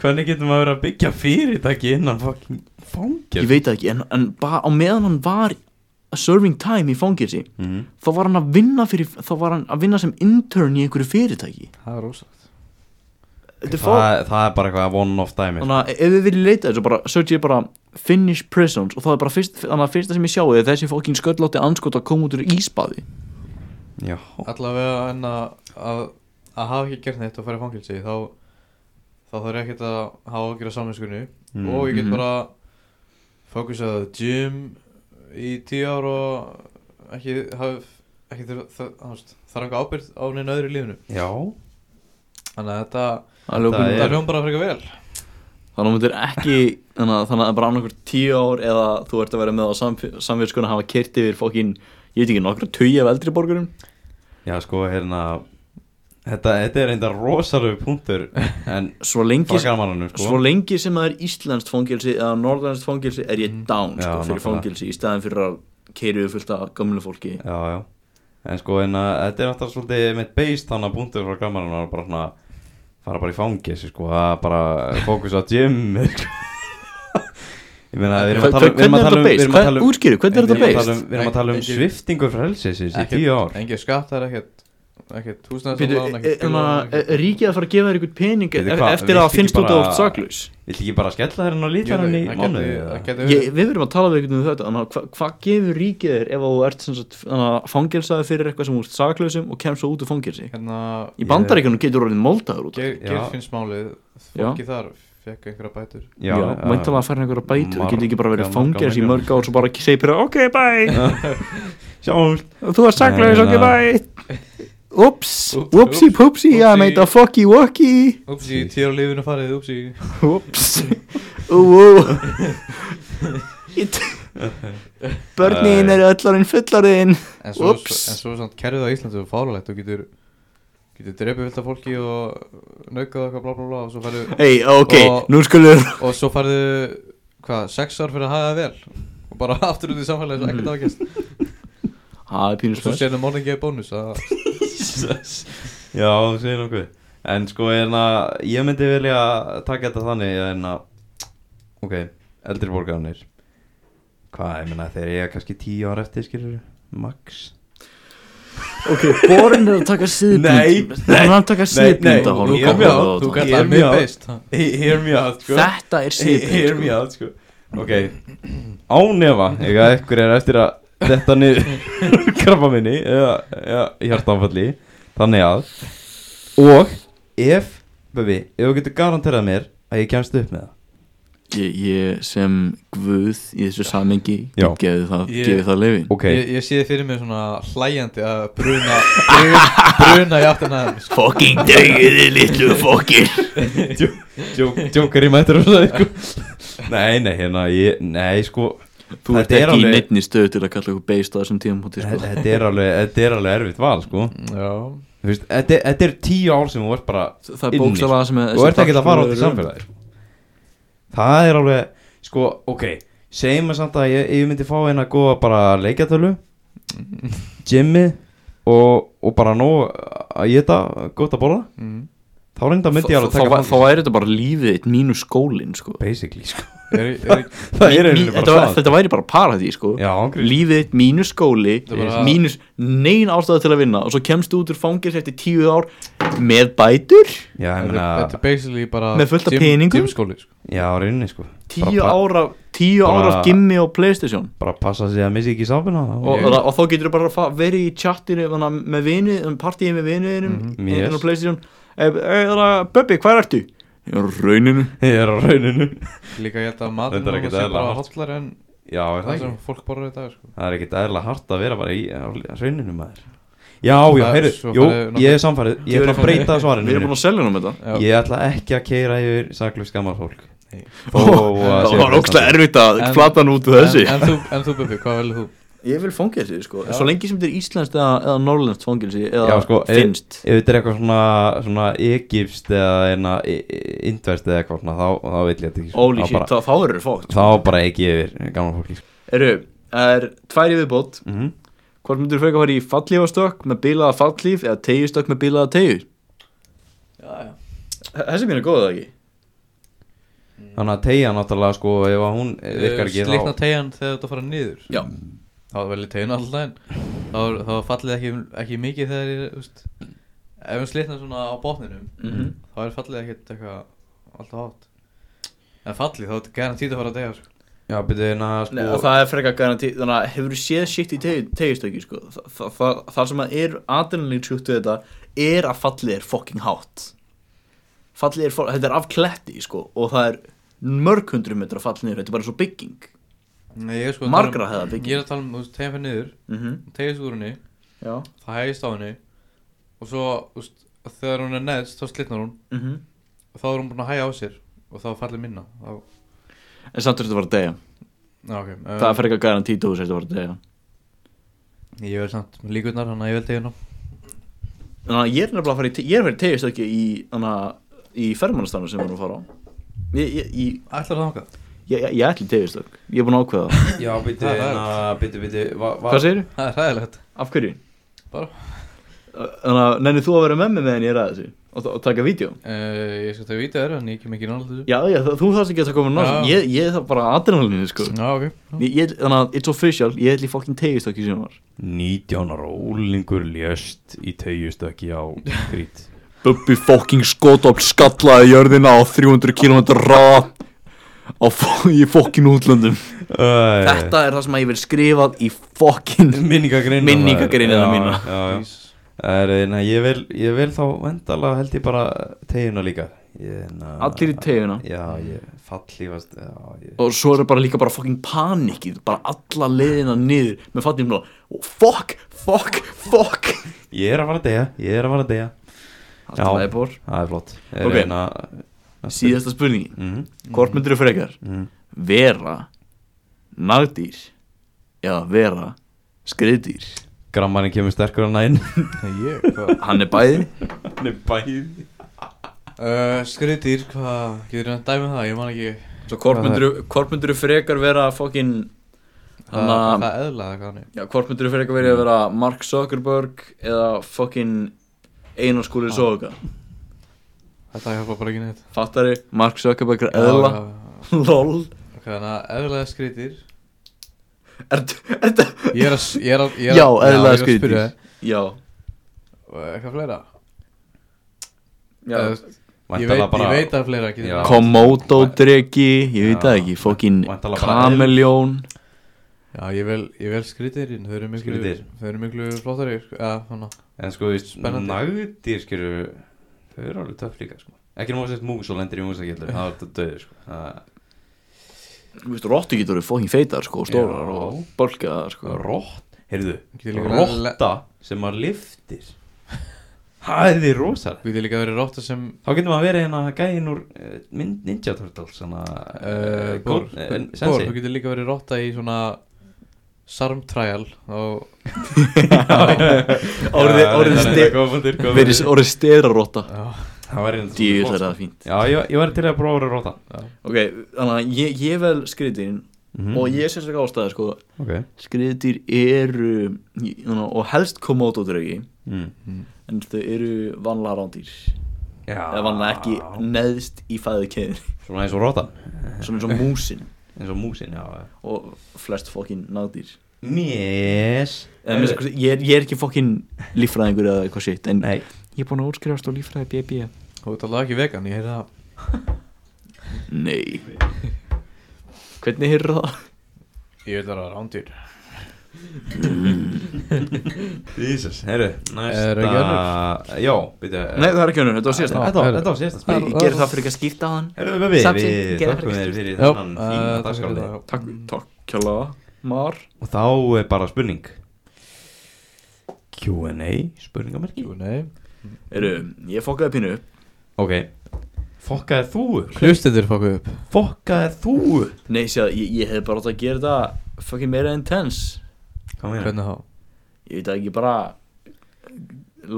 B: Hvernig getur maður verið að byggja fyrirtæki innan fucking
C: Ég
B: fangir
C: veit það ekki, en, en ba, á meðan hann var serving time í fangelsi
B: Mhm.
C: þá var hann að vinna fyrir þá var hann að vinna sem intern í einhverju fyrirtæki
A: það er rosalegt
C: Þetta er fá
B: það, það er bara eitthvað one sko. off dæmi
C: Þannig að ef við viljum leita þessu bara search ég bara Finnish prisons og það er bara fyrst, þannig að fyrsta sem ég sjáu er þessi fokkin sköllátti anskot að koma út úr ísbaði
B: Já
A: allavega en að, að, að hafa ekki gert neitt og fara í fangilsi þá, þá þarf ég ekkert að hafa ágjur á saminskunni og ég get
C: Mhm.
A: bara fókusað á gym í tíu ár og ekki haf, ekki þurf það, það, það, það er einhver ábyrgð á neina öðru í lífinu
B: Já
A: þannig að þetta,
C: Það er
B: Það
A: þetta
B: er-
C: ljókun-
A: hljóm bara frekar vel
C: Þannig að þú myndir ekki þannig að, þannig að bara annarkur tíu ár eða þú ert að vera með á samverðskun að hafa kyrt yfir fokkin, ég veit ekki, nokkra tugi af eldri borgurum
B: Já sko hérna Þetta, þetta er einnig rosalegu punktur En
C: Svo lengi,
B: frá gamanunum sko
C: svo lengi sem það er íslenskt fangelsi eða norðlenskt fangelsi er ég down
B: Mhm. Já,
C: sko, fyrir
B: nákvæmlega.
C: fangelsi í staðin fyrir að keiru fullt af gamlu fólki
B: Já já En sko en að þetta er náttúrulega svolítið með beist þannig að punktur frá gamanunum Bara svona Fara bara í fangis sko Það er bara fókus á gym sko. Ég meina við erum að
C: Hva-
B: tala
C: hva-
B: um við erum að
C: Hvernig er
B: tala
C: þetta
B: um- við
C: beist?
B: erum að
C: Hvað-
B: tala um-
C: Útskýru, hvernig er
B: við
C: þetta
B: erum að
C: beist?
B: tala um- Við erum að tala um
A: Engin-
B: sviftingu frelsis í tíu ár
A: engin skattar ekkert ekkert
C: Býtu,
A: húsnæðsalán
C: e-
A: ekkert
C: þannig
A: bílalán,
C: að
A: ekkert-
C: e- ríkið að fara að gefa þér einhvern pening
B: Bíddu,
C: e-
B: um- hvað,
C: eftir að það
B: viltu
C: finnst
B: ekki
C: út að
B: bara-
C: þú ert saklaus
B: Vill ekki bara skella þér hann og
A: Jú,
B: lítar hann í
A: það gæti-
B: mánuði
A: það
B: eða?
A: gæti
C: Ég,
A: verið-
C: við verum að tala við einhvern um þetta þannig að hva, hvað gefur ríkið þér ef að þú ert sem sagt, þannig að fangelsaði fyrir eitthvað sem þú ert saklausum og kemst svo út úr fangelsi
A: hérna
C: í bandaríkjunum getur orðin moldaður út af
A: Geir,
B: Já.
A: Geirfinnsmálið
C: Já.
A: fólki þar fekk einhverja bætur
C: Já, já
B: já.
C: mæntalega að fara einhverja bætur
B: Margar-
C: Getur ekki bara
B: margar-
C: verið fangjars í mörg ár Svo bara ekki segja bara ok bye
B: Sjáumst eh,
C: Þú var saklaus
B: Nei, na.
C: ok bye Ups,
A: Ups,
C: upsi pupsi I
A: upsi.
C: made a fucky walkie
A: Upsi, tíra lífinu farið, upsi
C: Ups Úú Börnin eru öllarinn fullarinn
A: En svo,
C: Ups.
A: en svo samt kerfið á Íslandi er fálalegt Þú getur, getur drefið vilt af fólki og naukað eitthvað bla bla bla og svo færðu,
C: Hei, ok,
A: Og-
C: nú skulum
A: og svo færðu hvað, sex ár fyrir að haga þér vel og bara aftur út í samfélagi svo
C: Mm.
A: ekkert ágæst
C: Það er pínu
A: og svo séðum morningi í bónus að
B: Jesus. Já, þú segir nokkuð En sko, hérna, ég myndi vilja taka þetta þannig hérna, Ok, eldri borgarnir Hvað, ég meina, þeir eiga kannski tíu ára eftir, skilur Max
C: Ok, borin er að taka siðbund
B: Nei,
C: Það er að taka siðbund
B: nei,
A: þú
B: ég-
A: kallar-
B: já,
A: þú
B: ég-
A: kallar
B: ég-
A: mig
B: já.
A: beist ha?
B: Hey, hear me out, sko
C: Þetta er
B: hey, Hear
C: siðbund
B: me out, sko Ok, ánefa Ega ekkur er eftir að þetta niður Krabba minni Eða, eða hjartanfalli Þannig að Og ef, Böbi, ef þú getur garanterað mér Að ég kemst upp með það
C: ég, ég sem guð í þessu samengi
B: Já.
C: gefið það,
A: Ég-
C: gefið það lefi
B: Ok,
A: ég, ég sé fyrir mig svona hlæjandi að bruna bruna- bruna í aftan aðeins sko.
C: Fucking dögiði litlu fokkin
B: Joker í mættur og svo sko. Nei, nei, hérna ég, Nei, sko
C: Þú
B: Þetta
C: ert
B: er
C: ekki í
B: alveg-
C: neittni stöð til að kalla eitthvað beist á þessum tíum hóti sko.
B: Þetta er alveg, þetta er alveg erfitt val, sko
A: já,
B: Þú veist, Þetta er- þetta er tíu ár sem þú ert bara
C: Það er
B: inni,
C: bókstala sem
B: Þú ert ekki að fara út í samfélagi sko. Það er alveg Sko, ok Segjum við samt að ég, ég myndi fá eina góða bara leikjartölu Jimmy og, og bara nóg að ég þetta gott að borða
A: mm.
B: Þá reynda myndi ég alveg
C: Þá
B: taka
C: þá- þá
B: fangelsi.
C: væri þetta bara lífið þitt mínus skólinn sko.
B: Basically, sko
A: er, er,
B: Það er
C: Mí-
B: einhvern
C: þetta, var,
B: bara það
C: þetta væri bara paradís sko.
B: Já, ángríns
C: lífið þitt mínus skóli
A: er bara-
C: mínus negin ástæða til að vinna og svo kemstu út úr fangils eftir tíu ár með bætur
B: Já, ég meina
A: þetta er basically bara
C: Með fullt af
A: gym-
C: peningum?
A: gymskóli, sko.
B: Já, rauninni, sko
C: tíu
B: Bara-
C: ára tíu
B: bara-
C: ára af gimmi og playstation
B: Bara passa sig að missa ekki sáfina
C: og, og, og þá getur þú bara fa- verið í chattinu þannig að með vini, um partíi með viniðinum mm
B: Mhm. Yes.
C: á playstation e, e, Böbbi, hvað ertu? Ég er á rauninu
B: Ég er á rauninu
A: líka ég held að
B: Þetta er
A: maður
B: ekkert
A: sé
B: eðlilega
A: bara
B: hart.
A: hotlar en
B: Já, er það
A: það
B: ekki
A: sem fólk borður í dag sko.
B: Það er ekkert eðla hart að vera bara í á hrauninu maður Já, já,
A: Það-
B: heyrðu,
A: svo
B: jú,
A: farið nokkuð-
B: ég er samfærið Ég ætla að breyta svarinu
C: við erum
B: mínu
C: búin að selja um þetta
B: Ég ætla ekki að keira yfir saklaus gammal fólk
A: Nei.
B: Þó að
C: það
B: sé
C: var
B: freistandi.
C: ógstlega erfitt að
A: En-
C: flata hann út úr þessi
A: en, en þú, en þú Bubi, hvað velur þú?
C: Ég vil fangilsi, sko Svo lengi sem þetta er íslenskt eða, eða norrlenskt fangilsi eða
B: Já, sko, ef-
C: finnst
B: Ef þetta er eitthvað svona, svona Egypst eða einna Indverst eða eitthvað svona, þá, þá vil ég þetta ekki sko.
C: Óli
B: Þá
C: shit,
B: bara-
C: þá, þá eru þau fókt
B: Þá bara ekki yfir gammal fólki sko.
C: Eru, er tværi viðbót
B: mm -hmm.
C: Hvort myndur þú frekar fara í fallífastökk með bilaða fallíf eða tegjustökk með bilaða tegju?
A: Já, já.
C: Þessi mín er góð, eða ekki?
B: Þannig að tegja náttúrulega sko Ef að hún virkar ekki
A: Eh, Slitna
B: þá
A: tegjan þegar þetta fara niður
C: Já.
A: Þá vel ég tegjan alltaf en þá, er- þá fallið ekki, ekki mikið þegar ég, þú veist Ef hún slitna svona á botninum
C: Mhm.
A: Þá er fallið ekkert eitthvað alltaf hátt En fallið, þá er gæna tíð að fara að tegja sko.
B: Já, byrju, hérna
C: Nei,
B: sko
C: það er frekar garantí Þannig að hefur þú séð shit í tegjustökki, sko Þa, það, það, það sem að er adrenalín sjúkt við þetta er að fallið er fucking hátt Fallið er, fo- þetta er af kletti, sko og það er mörg hundru metra fallið niður, þetta er bara svo bygging
A: Nei, ég er sko að tala um-
C: Margra hefða bygging.
A: Ég er að tala um, þú veist, tegjan fyrir niður
C: mm -hmm.
A: Tegjast úr henni,
C: Já
A: það hægist á henni Og svo, þú veist, þegar hún er neðst, þá slitnar hún
C: mm -hmm.
A: Og þá er hún búin að hægja á sér Og þá er fallið minna þá,
C: En samt er þetta að fara að deyja
A: já, okay. um,
C: Það er fyrir eitthvað gæðan títu þess að þetta var að deyja
A: um, Ég verð samt með líkurnar, þannig að ég vel tegjuna
C: Þannig að ég er nefnilega að fara í te- Ég er að fara í tegjastöki í Þannig að Í fermannastanu sem við erum að fara á Ég, ég, ég,
A: Ætlar það þangað?
C: ég, ég ætli tegjastök Ég er búin að ákveða það
B: Já, byrju,
A: Það er
B: hérna Byrju, byrju
C: Hvað segirðu?
A: Það er hræðilegt
C: Af hverju?
A: Bara.
C: Þannig að nennir þú að vera með mig meðan ég er að þessu Og, og taka vídeo
A: uh, Ég skal það vita þér en ég kem ekki nála þessu
C: Já, já, það- þú þarfst ekki að koma náttúrulega
A: Já.
C: ég, ég er það bara adrenalinu, sko
A: Já, ok
C: ég, ég, Þannig að it's official Ég ætli fokkin tegjastöki sem var
B: 19 ára ólingur ljöst í tegjustöki á grít
C: Bubbi fokking skotopp skallaði jörðina á 300 km ráða á fó- í fokkin útlöndum
B: Þetta
C: Þetta er það sem að ég vil skrifað í fokkin
B: Minningagreinina
C: Minningargreinina mína.
B: eh, já, já. Það er, na, ég, vil, ég vil þá vendala held ég bara tegina líka ég, na,
C: allir í teguna
B: já, ég fallífast já, ég,
C: og svo er bara líka bara fucking panikið bara alla leiðina niður með fattum bara oh, fuck, fuck, fuck
B: ég er að fara að deyja ég er að fara að deyja
C: Allt í lagi, Bór.
B: það er flott er
C: Ok.
B: na,
C: síðasta spurningi
B: mm
C: hvort myndir þú frekar
A: Mm.
B: Mhm.
C: vera nagdýr eða vera skriðdýr
B: grammarinn kemur sterkur að næn
A: Ég, hvað?
C: hann er bæði
B: hann er bæði
A: Uh, Skriðdýr, hvað? Getur þú að dæmi það? Ég man ekki
C: Svo hvort
A: Já,
C: myndirðu- hvort myndir þú frekar vera fucking
A: Hvað
C: Hanna-
A: hvað eðla það kannu?
C: Já, hvort myndir þú frekar verið að vera Mark Zuckerberg eða fucking Einar
A: Ah.
C: skúlið Soga
A: Þetta hjálpa bara ekki neitt
C: Fattari, Mark Zuckerberg er eðla
A: Já, já, já.
C: LOL
A: Ok, þannig að eðla er skriðdýr
C: Ertu, ertu
A: Ég er að ég er að- ég er að-
C: Já, eðla
A: ég
C: er
A: að spyrja
C: skriðdýr
A: þig.
C: Já,
A: Og Eitthvað fleira?
C: já
A: Eh, Ég veit, ég veit að fleira getur
B: Já.
A: þú-
C: Komodo-dreki, ég veit það
B: Já,
C: ekki Fucking
B: væntanlega bara
C: kameljón
A: Já, ég vel, ég vel skriðdýrin Þau eru miklu,
B: Skriðdýr.
A: þau eru miklu flottari sko. Já, þannig
B: En sko, þú veist,
A: Spennandi.
B: nagdýr skilur Þau eru alveg töff líka, sko Ekki náttúrulega sett mús og lendir í músakillu Það er þetta döður, sko Það-
C: Þú veist, rottu getur verið fucking feitar sko, og stórar
B: Já.
C: og bölkjaðar sko
B: Rott, heyrðu
A: Getur líka
B: Rotta sem maður liftir Það er því rosaleg
A: Við þið líka verið rótta sem
B: Þá getur maður að vera hérna gæðin úr uh, Min- Ninja Turtles Svona
A: uh, Bór,
B: góð- eh,
A: Bór, þú
B: Sensi
A: getur líka verið rótta í svona Sarm trial og
C: Orðið,
B: Já,
C: orðið,
B: reyndar,
C: ste-
B: reyndar, góð punktur, góð
C: verið-
B: punktur.
C: orðið sterarotta
B: Það væri reyndar
C: Djú,
B: svo
C: það er
B: flott,
C: það fínt
B: sko. Já, ég, ég væri til að prófa að vera rotta
C: Ok, þannig að ég, ég vel skriðdýrin
B: Mhm.
C: og ég er sérstaklega ástæði sko
B: Ok
C: skriðdýr eru ég- þannig að- og helst koma át og draugi
B: mm.
C: en þau eru vanlega rándýr
B: Já
C: eða vanlega ekki neðst í fæðu keður
B: Svona eins og rottan
C: svona eins og músin
B: Eins og músin, já, já
C: og flest fokkin nagdýr
B: Yes
C: Eða minnst að ég, er- ég er ekki fokkin líffræðingur eða eitthvað shit en
B: Nei
F: Ég er búin að útskrifast á líffræði BB
A: þú ert alveg ekki vegan, ég heyrði það
C: nei hvernig hýrðu það?
A: Ég veit að það er rándýr
B: Jesus, herru
A: Er það ekki
B: Næsta Já, byrja eh,
C: nei það er ekki önnur, þetta var
B: Þetta
C: síðasta
B: þetta var þetta var síðasta
C: ég gerði það fyrir ekki að skipta á hann
B: Herru, við við
F: Samsyn,
B: Við
F: gera
B: þökkum
F: fyrir
B: þér fyrir
A: Já,
B: þennan
A: eh, takk fyrir
B: fína dagskrálið
A: það, já.
C: takk, takk kjalla Mar
B: Og þá er bara spurning Q&A Spurningamerki
A: Jú, nei
C: eru, ég fokkaði pínu upp
B: Ok Fokkaði þú upp
A: Hlustendur fokku upp
B: Fokkaði þú upp
C: nei, séð, ég, ég hef bara átt að gera þetta fokkin meira intense
B: Hvað meina?
A: Hvernig þá?
C: ég veit það ekki bara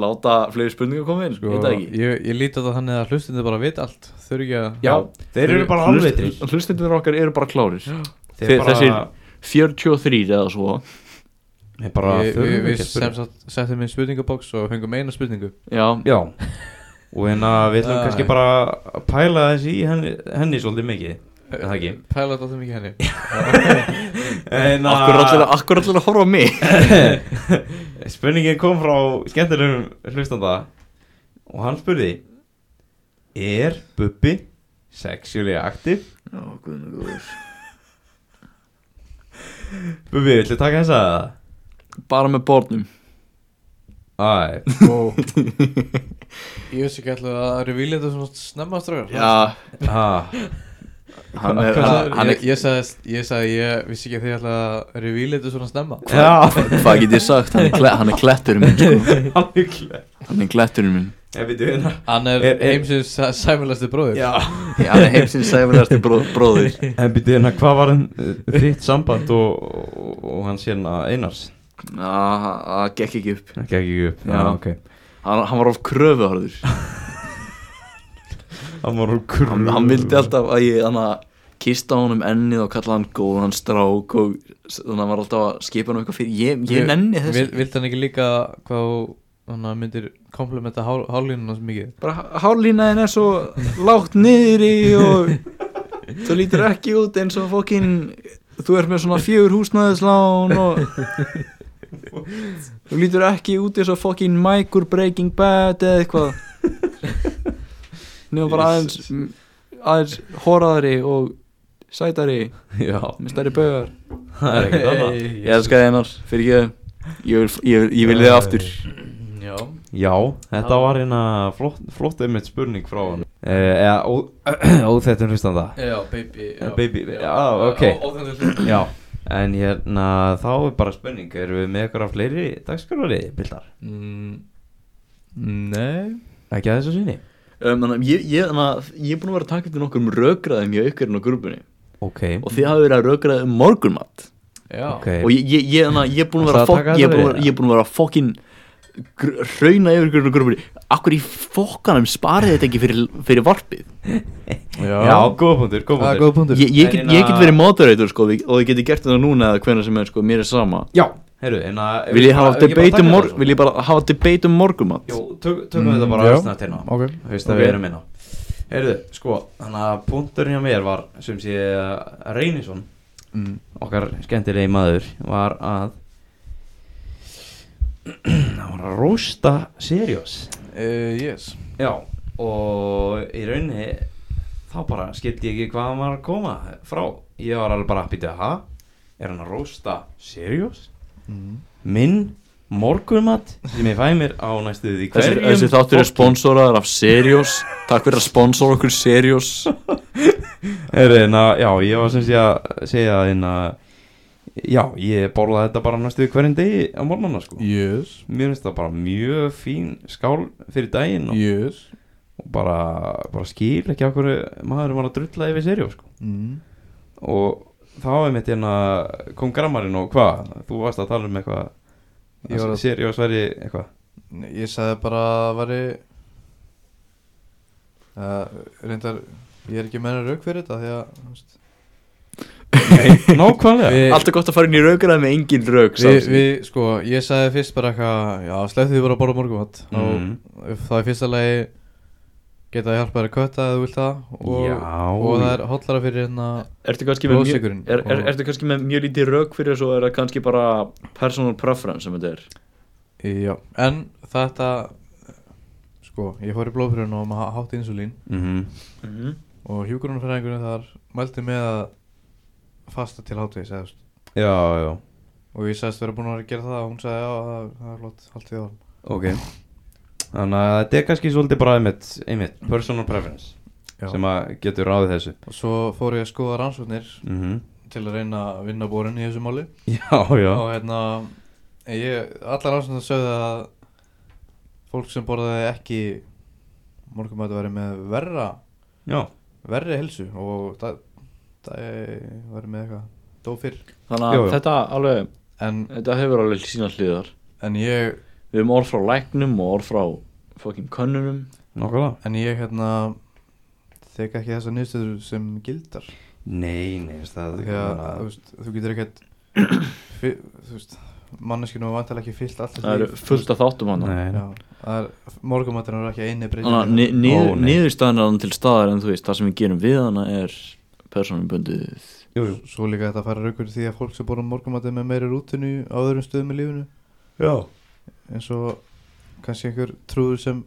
C: láta fleiri spurningar koma inn ég
A: Sko,
C: veit það ekki
A: ég, ég líti á það þannig að hlustendur bara veit allt Þau eru ekki að
B: Já, þeir eru bara alveg
C: hlustendur okkar eru bara klárir þeir- þessir- 43 eða svo
B: Þeir bara
A: Við-
B: þurfum
A: Við
B: ekki
A: við
B: að spurning
A: sem sagt settum inn spurningabóks og fengum eina spurningu
C: já,
B: Já Og hérna við ætlum
A: Æ.
B: kannski bara að pæla þessi í henni, henni svolítið mikið Er það ekki?
A: Pæla þetta mikið henni
B: En ah,
C: akkur allir, akkur allir að horfa á mig
B: Spurningin kom frá skemmtilegum hlustanda Og hann spurði Er Bubbi sexually active?
C: já, guð minn góður.
B: Bubbi, villu taka þessa eða?
C: bara með bórnum
B: Æ,
A: Wow. Ég veist ekki alltaf að revíla þetta svona snemma ströður
C: já,
B: ah,
C: hann er,
A: Hvað,
C: hann, hann
A: ég, ég sagði, ég sagði, ég vissi ekki að þið ætla að revíla þetta svona snemma
B: já,
C: er hvað get ég sagt, hann er, kle, hann er kletturinn minn sko.
B: alveg
C: hann er kletturinn minn
B: Ég veit við hérna
A: Hann er,
B: Er-
A: er,
B: er-
A: heimsins sæ- sæmilasti bróðir
B: Já
C: hann er heimsins sæfurlegasti bró, bróðir
B: En býttu hérna, hvað var hann þitt samband og, og, og hans hérna Einars?
C: Já, það gekk ekki upp
B: Ekki ekki upp, já,
C: Já.
B: ok
C: hann, hann var of kröfuharður
B: Hann var úr
C: hann,
B: kröfu
C: hann vildi alltaf að ég hann að kista honum ennið og kalla hann góðan strák og s- þannig að hann var alltaf að skipa hann eitthvað fyrir ég, ég nenni þessu
A: Vil, Vildi hann ekki líka hvað þú- hann myndir komplementa hál, hálínuna svo mikið
C: bara hálínaðin er svo lágt niðri og þú lítur ekki út eins og fokkin þú ert með svona fjögur húsnæðislán og þú lítur ekki út eins og fokkin Mike úr Breaking Bad eða eitthvað nefnum bara aðeins aðeins hóraðari og sætari
B: Já,
C: með stærri bögar
B: það er ekkert annað
C: ég elska þið einar fyrir ekki ég vil, ég vil, ég vil þið aftur
A: Já
B: Já, þetta
A: Já.
B: var hérna flott, flott einmitt spurning frá hann eh, Eða, ó- óþættum hlustanda
A: Já, baby
B: Eh, baby, já, ok. Já, en hérna þá er bara spurning Erum við með ykkur af fleiri dagskrafari, Bildar?
A: Mm. Nei
B: Ekki að þessu sinni
C: um, þannig að ég, ég, þannig að ég er búin að vera að taka eftir nokkrum rökraðum hjá ykkurinn á grúpunni
B: Ok,
C: og þið hafa verið að rökraða um morgunmat
A: Já
B: ok
C: og ég, ég, ég, þannig að ég er búin að vera
B: Varstu að
C: fokk,
B: taka
C: ég er
B: þetta
C: búin
B: við
C: að vera, ég er búin að vera fokkin hrauna yfir ykkurinn á grúpunni Akkur í fokkanum sparið þetta ekki fyrir, fyrir varpið
B: Já, góða punktur, góða
A: það er
B: punktur
A: góð Ah, punktur
C: Ég, ég,
B: En
C: get,
B: hérna-
C: ég get verið moderator sko við- og ég geti gert þetta núna eða hvenær sem er sko, mér er sama
B: Já, heyrðu, en að
C: Vil ég hafa
B: bara- bara
C: debate
B: taka
C: um mor-
B: þetta svo?
C: vil ég bara hafa debate um morgumat
B: Jó, tök- tökum við þetta bara
A: Mm, já.
B: snart hérna
A: Ok
B: Þú veist að
C: Ok.
B: við erum inn á Heyrðu, sko, þannig að punkturinn hjá mér var sem sé að Reynisson
A: Mm.
B: okkar skemmtilegi maður var að hann var að rósta Sirius
A: uh, Yes
B: Já og í rauninni þá bara skildi ég ekki hvað hann var að koma frá ég var alveg bara að býta ha er hann að rósta Sirius
A: Mm.
B: minn morgunmat sem ég fæ mér á næstu því
C: Þessi,
B: hverjum
C: þessi þáttur er
B: fólki.
C: sponsóraðar af Serios Takk fyrir að sponsóra okkur Serios
B: Heyrðu, hérna, já, ég var sem sé að segja hérna, já, ég borða þetta bara næstu hverjum degi á morgnana, sko.
A: Yes
B: Mér finnst það bara mjög fín skál fyrir daginn og,
A: Yes
B: og bara, bara skil ekki af hverju maður var að drulla yfir serjó, sko.
A: mm.
B: Og þá er mitt hérna, kom grammarinn og hvað, þú varst að tala um eitthvað,
A: Ég var að-
B: serjó sværi eitthvað.
A: Nei, Ég sagði bara að væri uh, Reyndar Ég er ekki með hennar rauk fyrir þetta Því að þú veist,
B: Nákvæmlega.
A: við,
C: Alltaf gott að fara inn í raukrað með engin rauk
A: við,
C: vi,
A: við, sko, Ég sagði fyrst bara eitthvað Já, slepptu því bara að borða morgumat
B: Mm.
C: Mhm.
A: og Það er fyrsta lagi Geta að hjálpa þér að kötta eða þú vilt það og,
B: Já.
A: og það er hotlara fyrir hérna
C: Ertu kannski með, mjög,
A: Blóðsykurinn
C: er, er,
A: og-
C: ertu kannski með mjög lítið rauk fyrir þessu og er það kannski bara personal preference sem þetta er
A: Já, en þetta Sko, ég fór í blóðfyrirun og maður hátti insulín
B: Mhm.
A: og hjúkurunarfræðingurinn þar mælti með að fasta til hátvegis eða þú veist.
B: Já, já,
A: og ég sagðist vera búin að vera að gera það og hún sagði já, það, það er flott, haldið á hann
B: ok. Þannig að þetta er kannski svolítið bara einmitt, einmitt, personal preference. sem að getur ráðið þessu
A: og svo fór ég að skoða rannsóknir
B: mm -hmm.
A: til að reyna að vinna borin í þessu máli
B: Já, já
A: og hérna ég, allar rannsóknir sögðu að fólk sem borðaði ekki morgumættu væri með verra
B: Já,
A: verri helsu og það, það væri með eitthvað dó fyrr
C: Þannig að
B: Jú, jú.
C: þetta alveg,
A: en,
C: þetta hefur alveg sína hliðar
A: en ég
C: Við höfum orð frá læknum og orð frá fucking könnunum
B: nokkulega
A: en ég hérna þekka ekki þessa nýstöður sem gildar
B: Nei, nei, veist það
A: því að þú, veist, þú getur ekkert fi- þú veist, manneskinu var vantilega ekki fyllt alltaf
C: Það eru fullt af þáttum hann
B: Nei, nei.
A: morgumættin er ekki eini breyting
C: Þannig að
B: Ó,
C: nið,
B: nei.
C: niðurstaðan er hann til staðar en þú veist, það sem við gerum við hana er persónubundið
B: Jú, jú
A: svo líka þetta færa raukur því að fólk sem borðum morgumættin með meiri rútinu á öðrum stöðum í lífinu
B: Já
A: eins og kannski einhver trúður sem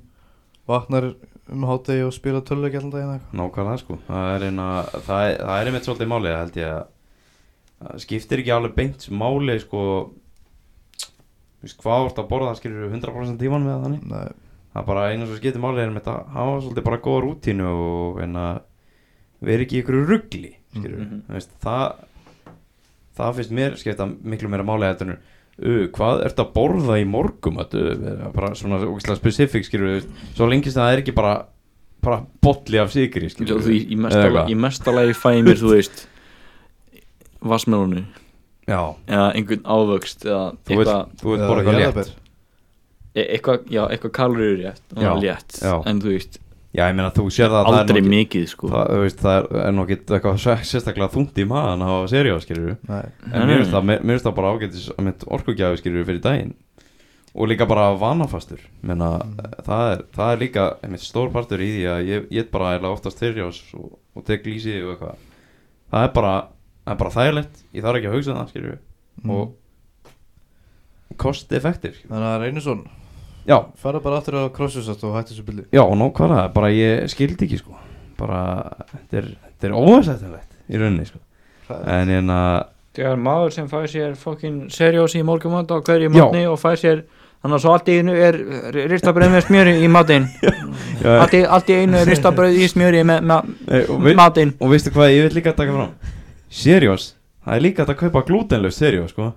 A: vaknar um hátegi og spila tölvöki allan daginn eða eitthvað
B: Nákvæmlega sko Það er, einna, það, er- það er einmitt svolítið málið held ég að það skiptir ekki alveg beint máli sko þú veist, hvað þú ert að borða það skilur 100% tíman með þannig
A: Nei,
B: það er bara eina sem skiptir máli er einmitt að hafa svolítið bara góða rútínu og en að vera ekki í ykkur ruggli skilur mm
C: Mhm.
B: veist, það það finnst mér skipta miklu meira máli þetta er Uh, hvað ertu að borða í morgum uh, bara svona ógeðslega specific skilur við, svo lengist það er ekki bara bara bolli af sigri
C: Þú,
B: skilur
C: þú, í, í mesta
B: Eða
C: la-
B: hvað?
C: í mesta lagi fæ ég mér, þú veist Vassmelónu
B: já,
C: Eða einhvern ávöxt Eða
B: þú vilt
C: eitthvað
B: þú vilt borða eitthvað létt
A: jarðarber.
C: e- eitthvað- Já, eitthvað kaloríur rétt
B: Já,
C: já, létt
B: já.
C: En þú veist,
B: já, ég meina þú sér það að það
C: aldrei
B: er nú ekki-
C: mikið sko
B: það, þú veist, það er, er nú ekki eitthvað sér- sérstaklega þungt í maðan á serjá skilur við
A: Nei,
B: En
C: Nei,
B: mér
C: nei,
B: finnst það, mér mér finnst það bara ágætis að mitt orkugjafi skilur fyrir daginn og líka bara vanafastur menna mm. það, er, það er líka einmitt stór partur í því að ég ég er bara eða oftast þyrjás og, og tek lýsi og eitthvað það er bara, það er bara þægilegt ég þarf ekki að hugsa um það skilur
C: Mm.
B: og cost effective skilurðu.
A: Mm. þannig að Reynisson
B: já,
A: fara bara aftur á krossjósast og hætti þessu bylli
B: já, nákvæmlega bara ég skildi ekki sko bara, þetta er, þetta er óvæsættilegt í rauninni sko en hérna,
F: Það er maður sem fær sér fokkin serjós í morgumat á hverju
B: Já. morgni
F: og fær sér
G: Þannig að svo allt í einu er ristabröð með smjöri í matinn
B: Já,
G: allt, í- allt í einu er ristabröð í smjöri með ma
B: eh, og, vi,
G: matinn
B: og veistu hvað ég vil líka taka fram Seriós, það er líka hægt að kaupa glutenlaust seriós sko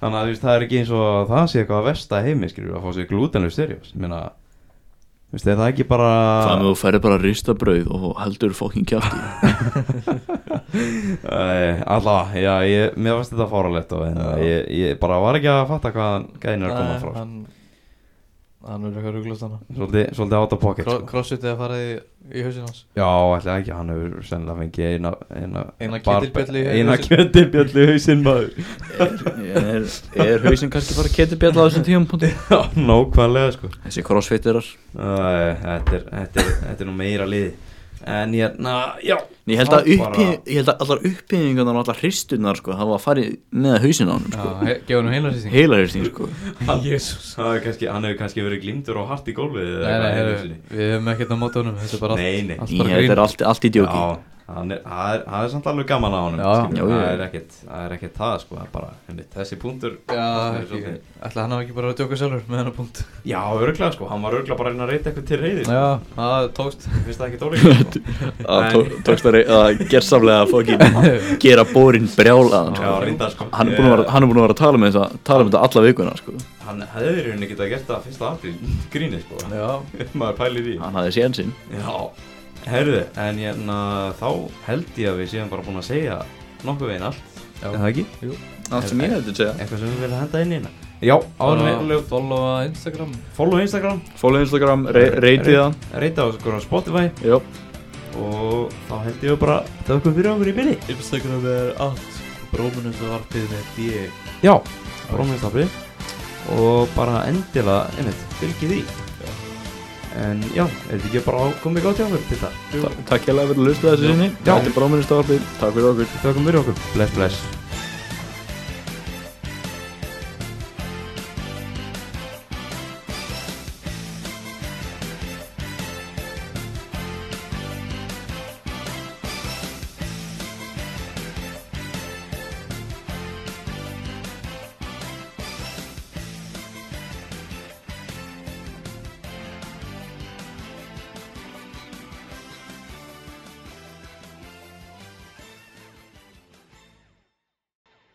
B: Þannig að þú veist, það er ekki eins og að það sé eitthvað að versta heimi skilur að fá sér glutenlaust seriós Ég meina, þú veist, er það ekki bara
C: Þannig að þú færi bara að rista brauð og heldur fokkin kjátti
B: Æ, Eh, Alla, já, ég, mér varst þetta fáralegt og hérna, ég, ég bara var ekki að fatta hvað gæðin er að koma frá sko.
A: hann hann er eitthvað rugglust hann
B: Svolítið, svolítið átta pocket
A: Kro-
B: sko.
A: crossfit eða farið í, í hausin hans
B: Já, ætla ekki, hann hefur sennilega fengið eina Eina,
A: Eina
B: barbe-
A: ketilbjöllu í
B: Eina
A: hausinn.
B: kjötilbjöllu í hausinn maður
C: Er, er hausin kannski bara ketibjall á þessum tíum punkti?
B: Já, nókvæðlega sko
C: Þessi crossfitterar
B: Æ, þetta, er, þetta, er, þetta er nú meira liði En ég, na, já
C: Ég held að,
B: Þá
C: uppi,
B: bara-
C: ég held að allar uppbyggingarnar og allar hristurnar sko, það var að fara með hausin á hann sko.
A: já, gefa hann heila sýsting
C: Heila hristing sko.
A: jésús
B: Það er kannski, hann hefur kannski verið glimtur og hart í gólfið eða
A: Nei, nei,
B: eitthvað í
A: heru,
B: hausinni.
A: við hefum ekkert á móta honum Þetta er bara
B: Nei, nei.
A: allt
C: Í,
A: bara
C: Þetta
A: grín
C: er allt, allt í djóki
B: Já, hann er, það er, það er samt alveg gaman á honum
A: Já,
B: skilur.
C: já, já.
B: það, er ekkert, það er ekkert það sko, það er bara, henni, þessi punktur það
A: Já,
B: er
A: ekki,
B: svolítið-
A: ætla hann hafa ekki bara að djóka sjálfur með hennar punkt
B: Já, örglega sko, hann var örglega bara að reyna að reyta eitthvað til reyði sko.
A: Já, það tókst
B: Finnst það ekki dólík sko.
C: Að tó- Tókst að rey- að gerðsamlega að fokkin gera bórin brjálaðan
B: Já,
C: sko.
B: reynda sko
C: hann, er búinn að vera- hann er búin að vera að tala með þessa tala með þetta alla vikuna sko.
B: Ég- Hann hefði í rauninni getað gert það fyrsta apríl grínið sko,
A: Já,
B: maður pælir í
C: Hann hafði séðan sinn
B: Já, herðu, en hérna þá held ég að við séum bara búin að segja nokkuð veginn allt
A: Já.
B: Er það ekki?
C: Allt sem ég hefði að segja
B: Eitthvað sem við vilja henda inn í hérna Já, áður
A: bara
B: með
A: followa Instagram
B: Follow Instagram,
C: Fólum Instagram, re- reytið það
B: reyta á okkur á Spotify
C: Jó.
B: og þá held ég bara þökkum fyrir okkur í byrni
A: Instagram er allt Bróminus og varpið með D
B: já, brómiðstafrið og bara endilega, einmitt, fylgið því en já, er þetta ekki bara komið gott hjá okkur til það
C: Ta- Takk hérlega fyrir að lusta þessu sinni
B: Já.
C: Þetta er bróminnistafarpið Takk fyrir okkur
B: þökkum fyrir okkur, bless bless